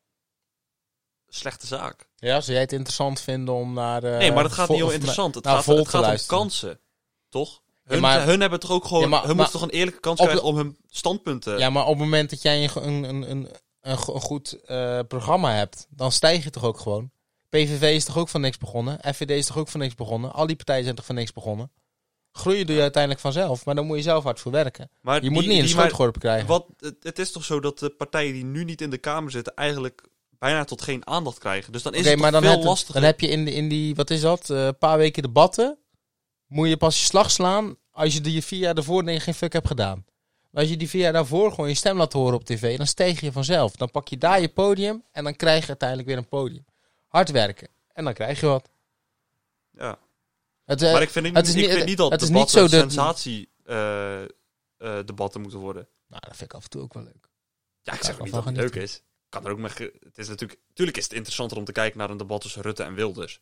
S2: slechte zaak.
S1: ja, zou jij het interessant vinden om naar... eh,
S2: nee, maar het gaat
S1: Vol-
S2: niet om
S1: of-
S2: interessant. Het
S1: nou,
S2: gaat,
S1: Volt
S2: het
S1: te
S2: gaat om
S1: luisteren.
S2: kansen, toch? Hun,
S1: maar-
S2: hun hebben toch ook gewoon,
S1: Ja, maar-
S2: hun
S1: maar-
S2: moeten toch een eerlijke kans
S1: Op-
S2: krijgen om hun standpunten.
S1: Ja, maar op het moment dat jij een, een, een, een, een go- een goed eh, programma hebt, dan stijg je toch ook gewoon. PVV is toch ook van niks begonnen? FVD is toch ook van niks begonnen? Al die partijen zijn toch van niks begonnen? Groeien doe je uiteindelijk vanzelf, maar dan moet je zelf hard voor werken.
S2: maar
S1: Je moet
S2: die-
S1: niet in de
S2: die maar-
S1: schootgorp krijgen.
S2: Wat, het, het is toch zo dat de partijen die nu niet in de Kamer zitten eigenlijk bijna tot geen aandacht krijgen. Dus dan is
S1: Oké,
S2: het toch
S1: maar dan,
S2: veel
S1: heb, het-
S2: lastiger.
S1: dan heb je in, de, in die, wat is dat, eh, een paar weken debatten, moet je pas je slag slaan als je die vier jaar daarvoor nee, geen fuck hebt gedaan. Maar als je die vier jaar daarvoor gewoon je stem laat horen op tv, dan steeg je vanzelf. Dan pak je daar je podium en dan krijg je uiteindelijk weer een podium. Hard werken en dan krijg je wat.
S2: Ja.
S1: Het, eh,
S2: Maar ik vind, ik,
S1: het is
S2: ik
S1: niet-
S2: vind niet dat
S1: het is niet
S2: debatten
S1: zo dat-
S2: sensatie-debatten moeten worden.
S1: Nou, dat vind ik af en toe ook wel leuk.
S2: Ja, ik
S1: Ja,
S2: zeg ook
S1: dat
S2: niet dat
S1: wel
S2: het leuk
S1: genieten.
S2: is. Ik Kan er ook mee ge- het is natuurlijk, tuurlijk is het interessanter om te kijken naar een debat tussen Rutte en Wilders.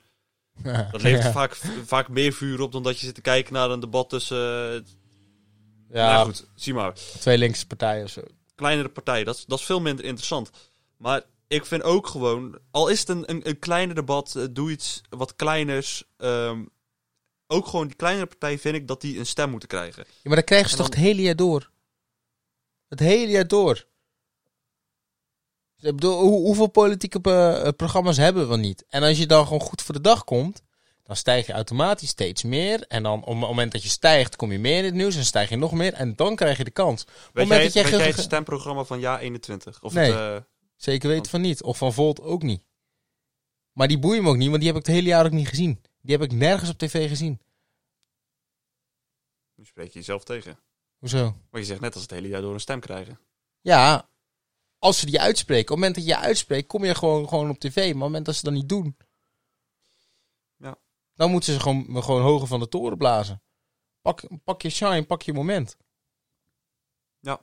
S2: Dat
S1: (laughs)
S2: levert
S1: ja.
S2: vaak, vaak meer vuur op dan dat je zit te kijken naar een debat tussen... eh,
S1: Ja,
S2: Nou goed, zie maar.
S1: twee linkse partijen of zo.
S2: kleinere partijen. Dat is, dat is veel minder interessant. Maar ik vind ook gewoon, al is het een, een, een kleiner debat, eh, doe iets wat kleiners. ehm, ook gewoon die kleinere partijen vind ik dat die een stem moeten krijgen.
S1: Ja, maar dan krijgen ze
S2: En
S1: toch het hele jaar door. Het hele jaar door. Ik bedoel, hoe, hoeveel politieke eh, programma's hebben we niet? En als je dan gewoon goed voor de dag komt, dan stijg je automatisch steeds meer. En dan op het moment dat je stijgt, kom je meer in het nieuws en stijg je nog meer. En dan krijg je de kans.
S2: Weet
S1: moment
S2: jij,
S1: dat jij
S2: weet jij
S1: ge-
S2: het stemprogramma van Ja 21? Of
S1: Nee.
S2: het, eh,
S1: Zeker weten van niet. Of van Volt ook niet. Maar die boeien me ook niet, want die heb ik het hele jaar ook niet gezien. Die heb ik nergens op tv gezien.
S2: nu spreek je jezelf tegen.
S1: Hoezo?
S2: Maar je zegt net als het hele jaar door een stem krijgen.
S1: Ja, als ze die uitspreken. Op het moment dat je uitspreekt, kom je gewoon, gewoon op tv. Maar op het moment dat ze dat niet doen...
S2: Ja.
S1: Dan moeten ze gewoon, gewoon hoger van de toren blazen. Pak, pak je shine, pak je moment.
S2: Ja.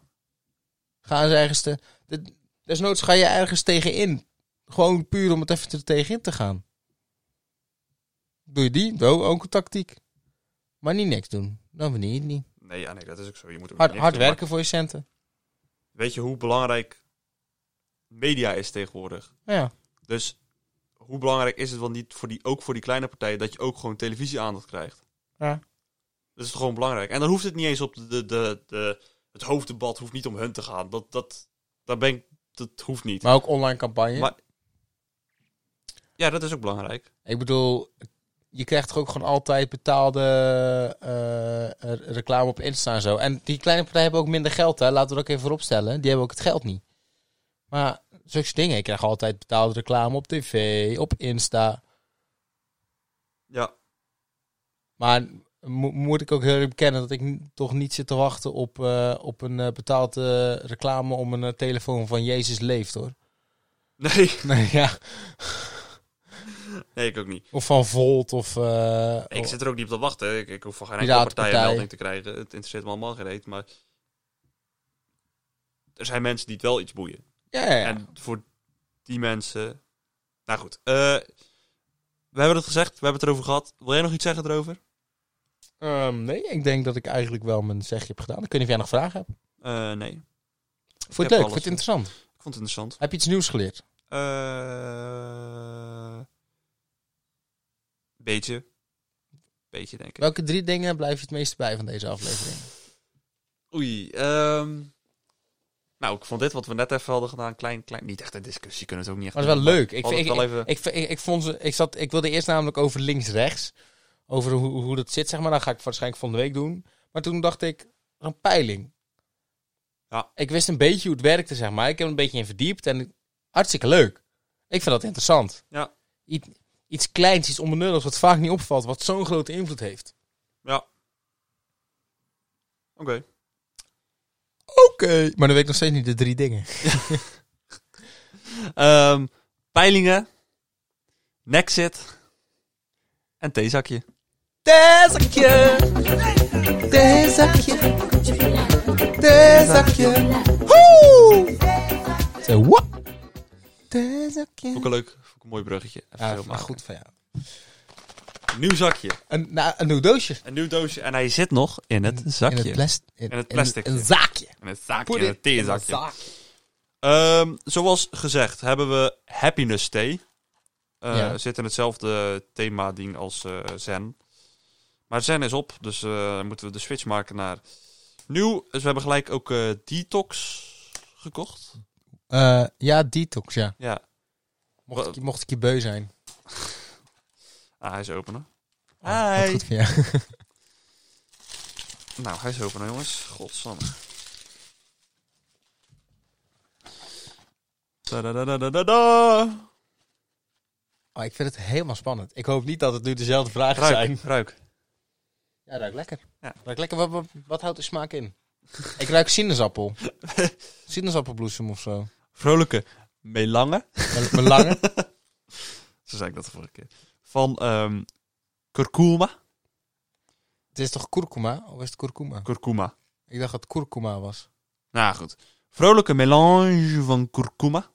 S1: Ga ze ergens... Te, de- desnoods ga je ergens tegenin. Gewoon puur om het even er tegenin te gaan. Doe je die? Doe ook een tactiek. Maar niet niks doen. Dan verdien je het niet.
S2: Nee, ja, nee, dat is ook zo. Je moet ook
S1: Hard,
S2: niks
S1: hard
S2: doen, maar
S1: werken voor je centen.
S2: Weet je hoe belangrijk media is tegenwoordig?
S1: Ja.
S2: Dus hoe belangrijk is het wel niet voor die, ook voor die kleine partijen dat je ook gewoon televisieaandacht krijgt?
S1: Ja.
S2: Dat is toch gewoon belangrijk. En dan hoeft het niet eens op de, de, de, de- het hoofddebat hoeft niet om hun te gaan. Dat, dat, daar ben ik, dat hoeft niet.
S1: Maar ook online campagne.
S2: Maar- ja, dat is ook belangrijk.
S1: Ik bedoel, je krijgt toch ook gewoon altijd betaalde eh, eh, reclame op Insta en zo. En die kleine partijen hebben ook minder geld, hè. Laten we dat ook even vooropstellen. Die hebben ook het geld niet. Maar zulke dingen. Je krijgt altijd betaalde reclame op tv, op Insta.
S2: Ja, (laughs)
S1: Maar mo- moet ik ook heel erg bekennen dat ik n- toch niet zit te wachten op, eh, op een eh, betaalde reclame om een eh, telefoon van Jezus leeft, hoor.
S2: nee,
S1: Nee, ja.
S2: nee ik ook niet.
S1: Of van Volt of... eh,
S2: Ik zit er ook niet op te wachten. Ik, ik hoef van geen enkele
S1: Piratenpartij.
S2: partij een melding te krijgen. Het interesseert me allemaal gereed, maar... Er zijn mensen die het wel iets boeien.
S1: Ja, ja, ja.
S2: En voor die mensen Nou goed. eh, we hebben het gezegd. We hebben het erover gehad. Wil jij nog iets zeggen erover?
S1: Ehm, nee, ik denk dat ik eigenlijk wel mijn zegje heb gedaan. Ik weet niet of jij nog vragen hebt.
S2: Eh, nee.
S1: Vond je het
S2: heb
S1: leuk?
S2: alles.
S1: Vond je het interessant?
S2: Ik vond het interessant.
S1: Heb je iets nieuws geleerd?
S2: Eh beetje. Beetje, denk ik.
S1: Welke drie dingen blijf je het meest bij van deze aflevering?
S2: Oei. ehm, nou, ik vond dit wat we net even hadden gedaan. Klein, klein, niet echt een discussie kunnen we het ook niet echt
S1: Maar het is wel
S2: noemen,
S1: leuk. Ik,
S2: hadden
S1: ik,
S2: het wel
S1: ik,
S2: even-
S1: ik, ik, ik vond ze, ik, zat, ik wilde eerst namelijk over links-rechts. Over hoe, hoe dat zit, zeg maar. Dat ga ik waarschijnlijk volgende week doen. Maar toen dacht ik, een peiling.
S2: Ja.
S1: Ik wist een beetje hoe het werkte, zeg maar. Ik heb er een beetje in verdiept. En ik- hartstikke leuk. Ik vind dat interessant.
S2: Ja.
S1: Iets, iets kleins, iets onbenulligs, wat vaak niet opvalt. Wat zo'n grote invloed heeft.
S2: Oké.
S1: Oké. Maar dan weet ik nog steeds niet de drie dingen.
S2: Ehm, peilingen. Nexit. En theezakje.
S1: Theezakje. Theezakje. Theezakje. Hoe! Zo, wat?
S2: Vond ik
S1: Theezakje.
S2: een leuk, vond ik een mooi bruggetje. Even
S1: Ja,
S2: zo
S1: maar
S2: maken.
S1: goed van jou.
S2: Nieuw zakje.
S1: Een, nou, een nieuw doosje.
S2: Een nieuw doosje. En hij zit nog in het zakje.
S1: In het, plas- in,
S2: In het plastic.
S1: Een, zaakje.
S2: In het zakje.
S1: Put it
S2: in het theezakje.
S1: in een zaak.
S2: Ehm, zoals gezegd hebben we Happiness Day. Eh,
S1: Ja.
S2: Zit in hetzelfde thema-ding als eh, Zen. Maar Zen is op, dus eh, moeten we de switch maken naar nieuw. Dus we hebben gelijk ook eh, Detox gekocht.
S1: Eh, ja, detox, ja.
S2: Ja,
S1: Mocht ik, mocht ik je beu zijn.
S2: ah, hij is openen.
S1: Oh, wat
S2: Hi.
S1: goed van jou.
S2: Nou, hij is openen, jongens. Godsamme. Da-da-da-da-da-da.
S1: Oh, ik vind het helemaal spannend. Ik hoop niet dat het nu dezelfde vragen zijn.
S2: Ruik, ruik.
S1: Ja, ruikt lekker.
S2: Ja.
S1: Ruikt lekker. Wat, wat, wat houdt de smaak in? ik ruik
S2: (laughs)
S1: sinaasappel. Sinaasappelbloesem of zo.
S2: Vrolijke melange.
S1: Met, met lange.
S2: Zo zei ik dat de vorige keer. Van ehm kurkuma.
S1: Het is toch kurkuma? Of is het kurkuma?
S2: Kurkuma.
S1: Ik dacht dat het kurkuma was.
S2: Nou goed. Vrolijke melange van kurkuma,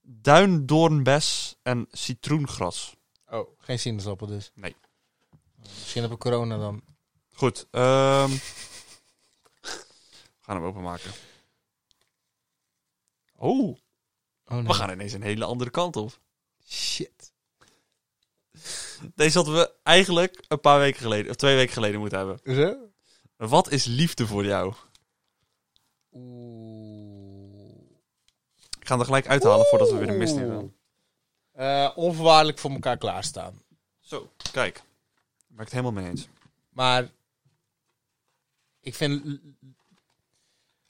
S2: duindoornbes en citroengras.
S1: Oh. Geen sinaasappel dus.
S2: Nee.
S1: Misschien heb ik corona dan.
S2: Goed. ehm, we gaan hem openmaken. Oh,
S1: Oh nee.
S2: we gaan ineens een hele andere kant op.
S1: Shit.
S2: Deze hadden we eigenlijk een paar weken geleden, of twee weken geleden moeten hebben.
S1: Zo?
S2: Wat is liefde voor jou?
S1: Oeh.
S2: Ik ga hem er gelijk uithalen voordat we weer een mist in gaan.
S1: Eh, onvoorwaardelijk voor elkaar klaarstaan.
S2: Zo, kijk. Daar ben ik het helemaal mee eens.
S1: Maar ik vind.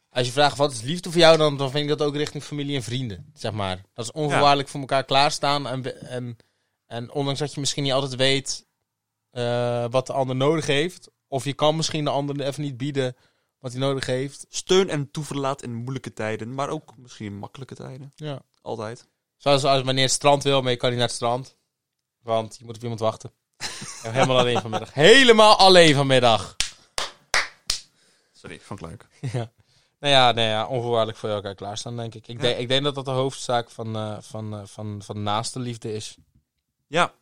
S1: Als je vraagt wat is liefde voor jou, dan, dan vind ik dat ook richting familie en vrienden. Zeg maar. Dat is onvoorwaardelijk voor elkaar klaarstaan. En, we- en, en ondanks dat je misschien niet altijd weet eh, wat de ander nodig heeft. Of je kan misschien de ander even niet bieden wat hij nodig heeft.
S2: Steun en toeverlaat in moeilijke tijden, maar ook misschien in makkelijke tijden.
S1: Ja.
S2: Altijd.
S1: Zoals als wanneer het strand wil, maar je kan niet naar het strand. Want je moet op iemand wachten. En helemaal alleen vanmiddag. Helemaal alleen vanmiddag.
S2: Sorry, van Kluik.
S1: Ja. Nou ja, nou ja, onvoorwaardelijk voor elkaar klaarstaan, denk ik. Ik,
S2: Ja.
S1: denk, ik denk dat dat de hoofdzaak van, eh, van, eh, van, van naaste liefde is.
S2: Ja.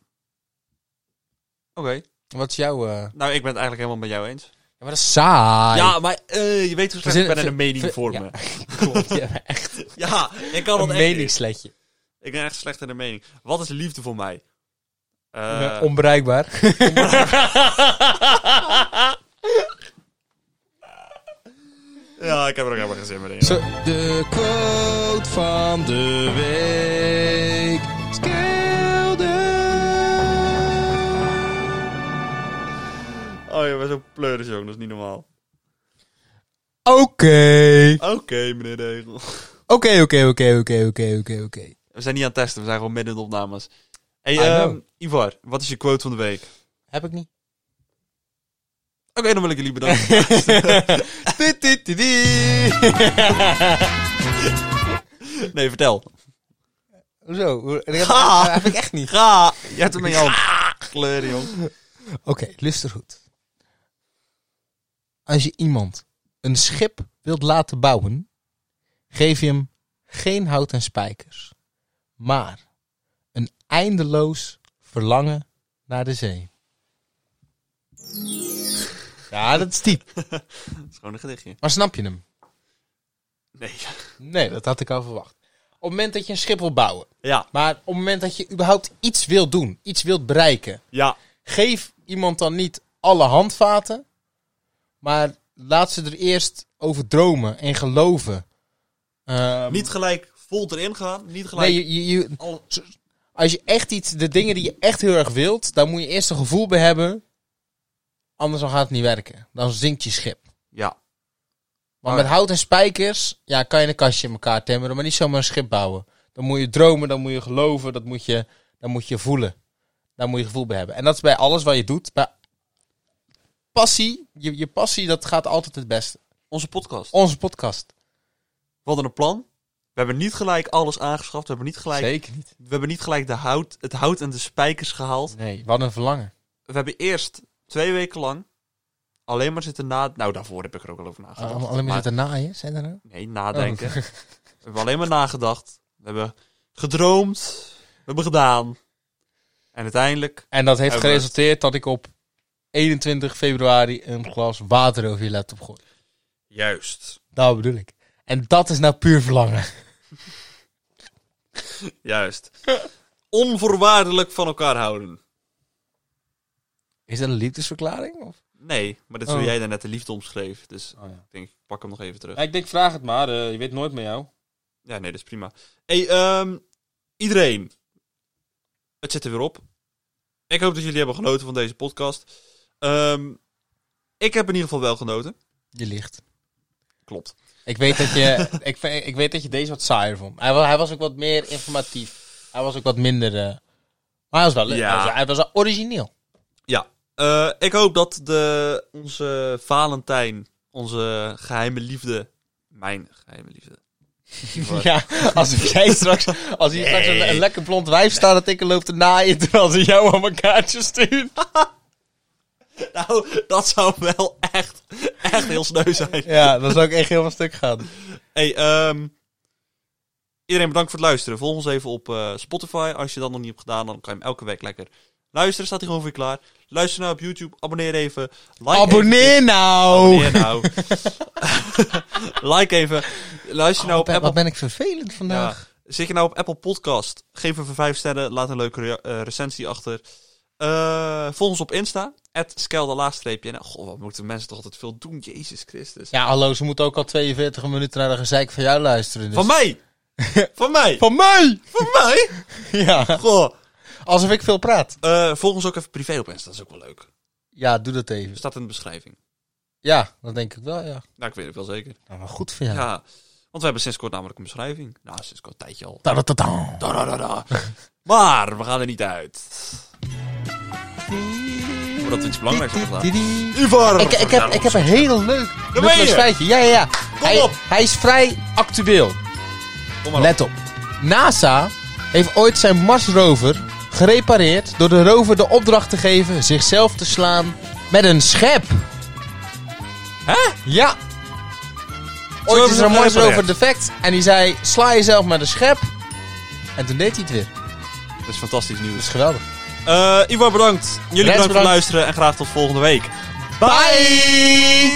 S2: Oké.
S1: Wat is jouw... eh,
S2: Nou, ik ben het eigenlijk helemaal met jou eens.
S1: Ja, maar dat is saai.
S2: Ja, maar eh, je weet hoe slecht
S1: Verzin-
S2: ik ben in een
S1: ver-
S2: mening
S1: ver- ja.
S2: vormen.
S1: (laughs) klopt. Ja, echt
S2: Ja, ik kan
S1: een
S2: dat echt niet.
S1: meningsletje.
S2: Ik ben echt slecht in de mening. Wat is liefde voor mij? Eh,
S1: Ja, onbereikbaar.
S2: (laughs) ja, ik heb er ook helemaal geen zin meer in.
S1: Zo, de quote van de week.
S2: Oh, je bent zo'n pleuris, jong. Dat is niet normaal.
S1: Oké.
S2: Oké, meneer Degel.
S1: Oké, oké, oké, oké, oké, oké, oké.
S2: We zijn niet aan het testen. We zijn gewoon midden in de opnames. Hey,
S1: I know.
S2: ehm, Ivar, wat is je quote van de week? Oké,
S1: Heb ik (laughs) niet.
S2: dan wil ik jullie bedanken. (laughs)
S1: Dit, dit, dit, dit.
S2: nee, vertel.
S1: Hoezo? Hoe- Dat heb,
S2: Ha!
S1: dat heb ik echt niet.
S2: Ga! Je hebt hem in je hand. Kleuren, jong.
S1: Oké, luister goed. Als je iemand een schip wilt laten bouwen, geef je hem geen hout en spijkers, maar een eindeloos verlangen naar de zee. Ja, dat is diep.
S2: Dat is gewoon een gedichtje.
S1: Maar snap je hem?
S2: Nee.
S1: Nee, dat had ik al verwacht. Op het moment dat je een schip wil bouwen,
S2: Ja,
S1: maar op het moment dat je überhaupt iets wil doen, iets wilt bereiken,
S2: ja.
S1: geef iemand dan niet alle handvaten, maar laat ze er eerst over dromen en geloven. Ehm,
S2: Niet gelijk vol erin gaan. Niet gelijk...
S1: Nee, je, je, je-
S2: al...
S1: als je echt iets, de dingen die je echt heel erg wilt, dan moet je eerst een gevoel bij hebben. Anders dan gaat het niet werken. Dan zinkt je schip.
S2: Ja.
S1: Want met hout en spijkers, ja, kan je een kastje in elkaar timmeren, maar niet zomaar een schip bouwen. Dan moet je dromen, dan moet je geloven, dat moet je, dan moet je voelen. Daar moet je gevoel bij hebben. En dat is bij alles wat je doet. Bij passie, je, je passie, dat gaat altijd het beste.
S2: Onze podcast.
S1: Onze podcast.
S2: We hadden een plan. We hebben niet gelijk alles aangeschaft. We hebben niet gelijk,
S1: Zeker niet.
S2: we hebben niet gelijk de hout, het hout en de spijkers gehaald.
S1: Nee, wat een verlangen.
S2: We hebben eerst twee weken lang alleen maar zitten na... Nou, daarvoor heb ik er ook al over nagedacht.
S1: Alleen maar
S2: Maar- Oh.
S1: zitten naaien, zijn er nou?
S2: Nee, nadenken. We hebben alleen maar nagedacht. We hebben gedroomd. We hebben gedaan. En
S1: (laughs)
S2: uiteindelijk...
S1: En dat heeft
S2: Hebben we-
S1: geresulteerd dat ik op 21 februari een glas water over je laptop gooi.
S2: Juist.
S1: Dat bedoel ik. En dat is nou puur verlangen.
S2: Juist. (laughs) Onvoorwaardelijk van elkaar houden.
S1: Is dat een liefdesverklaring? Of?
S2: Nee, maar dit is hoe
S1: Oh.
S2: jij daarnet de liefde omschreef. Dus
S1: Oh, ja.
S2: ik denk, ik pak hem nog even terug.
S1: Ja, ik denk, vraag het maar. eh, je weet nooit met jou.
S2: Ja, nee, dat is prima. hey, ehm, iedereen. Het zit er weer op. Ik hoop dat jullie hebben genoten van deze podcast. Ehm, ik heb in ieder geval wel genoten.
S1: Je ligt.
S2: Klopt.
S1: Ik weet dat je, (laughs) ik, vind- ik weet dat je deze wat saaier vond. Hij was, hij was ook wat meer informatief. Hij was ook wat minder... eh, maar hij was wel leuk.
S2: Ja.
S1: Hij, was, hij was wel origineel.
S2: Ja. Eh, ik hoop dat de, onze Valentijn, onze geheime liefde... Mijn geheime liefde. (laughs)
S1: Ja, als jij straks, als hier straks een, een lekker blond wijf staat dat ik er loop te naaien terwijl ze jou aan mijn kaartje sturen.
S2: Nou, dat zou wel echt, echt heel sneu zijn.
S1: Ja, dan zou ik echt helemaal stuk gaan.
S2: Hey, ehm, iedereen bedankt voor het luisteren. Volg ons even op eh, Spotify. Als je dat nog niet hebt gedaan, dan kan je hem elke week lekker luisteren. Staat hij gewoon voor je klaar. Luister nou op YouTube. Abonneer even. Like
S1: Abonneer nou!
S2: Even. Abonneer nou. (laughs) like even. Luister nou op
S1: Ben-
S2: Apple.
S1: Wat ben ik vervelend
S2: Ja.
S1: vandaag.
S2: Zit je nou op Apple Podcast? Geef even vijf sterren. Laat een leuke re- eh, recensie achter. Eh, volg ons op Insta. @skelderlaagstreepje. Nou, Goh, wat moeten mensen toch altijd veel doen? Jezus Christus.
S1: Ja, hallo, ze moeten ook al 42 minuten naar de gezeik van jou luisteren. dus-
S2: Van
S1: (laughs)
S2: mij! Van mij!
S1: Van mij!
S2: Van mij!
S1: Ja,
S2: Goh.
S1: alsof ik veel praat.
S2: Eh volg ons ook even privé op Insta, dat is ook wel leuk.
S1: Ja, doe dat even.
S2: Staat in de beschrijving.
S1: Ja, dat denk ik wel, ja.
S2: Nou, ik weet het wel zeker.
S1: Nou, maar goed van
S2: Ja.
S1: jou.
S2: want we hebben sinds kort namelijk een beschrijving. Nou, sinds kort een tijdje al.
S1: Tadadada.
S2: Tadadada. maar, we gaan er niet uit. Voordat we iets belangrijks hebben gedaan.
S1: Didi.
S2: Ivar!
S1: Ik, ik, heb, ik heb een heel leuk
S2: ben
S1: Nicolas
S2: je.
S1: feitje. Ja, ja, ja. Hij,
S2: op. Oh.
S1: hij is vrij actueel.
S2: Kom maar op.
S1: Let op. NASA heeft ooit zijn Marsrover gerepareerd door de rover de opdracht te geven zichzelf te slaan met een schep.
S2: Hè?
S1: Ja.
S2: hebben
S1: Ooit is
S2: ze
S1: er een
S2: hem
S1: Marsrover
S2: gerepareerd.
S1: defect en die zei sla jezelf met een schep. En toen deed hij het weer.
S2: Dat is fantastisch
S1: Dat
S2: nieuws.
S1: is geweldig.
S2: Eh Ivar, bedankt. Jullie bedankt voor het
S1: bedankt.
S2: luisteren en graag tot volgende week. Bye.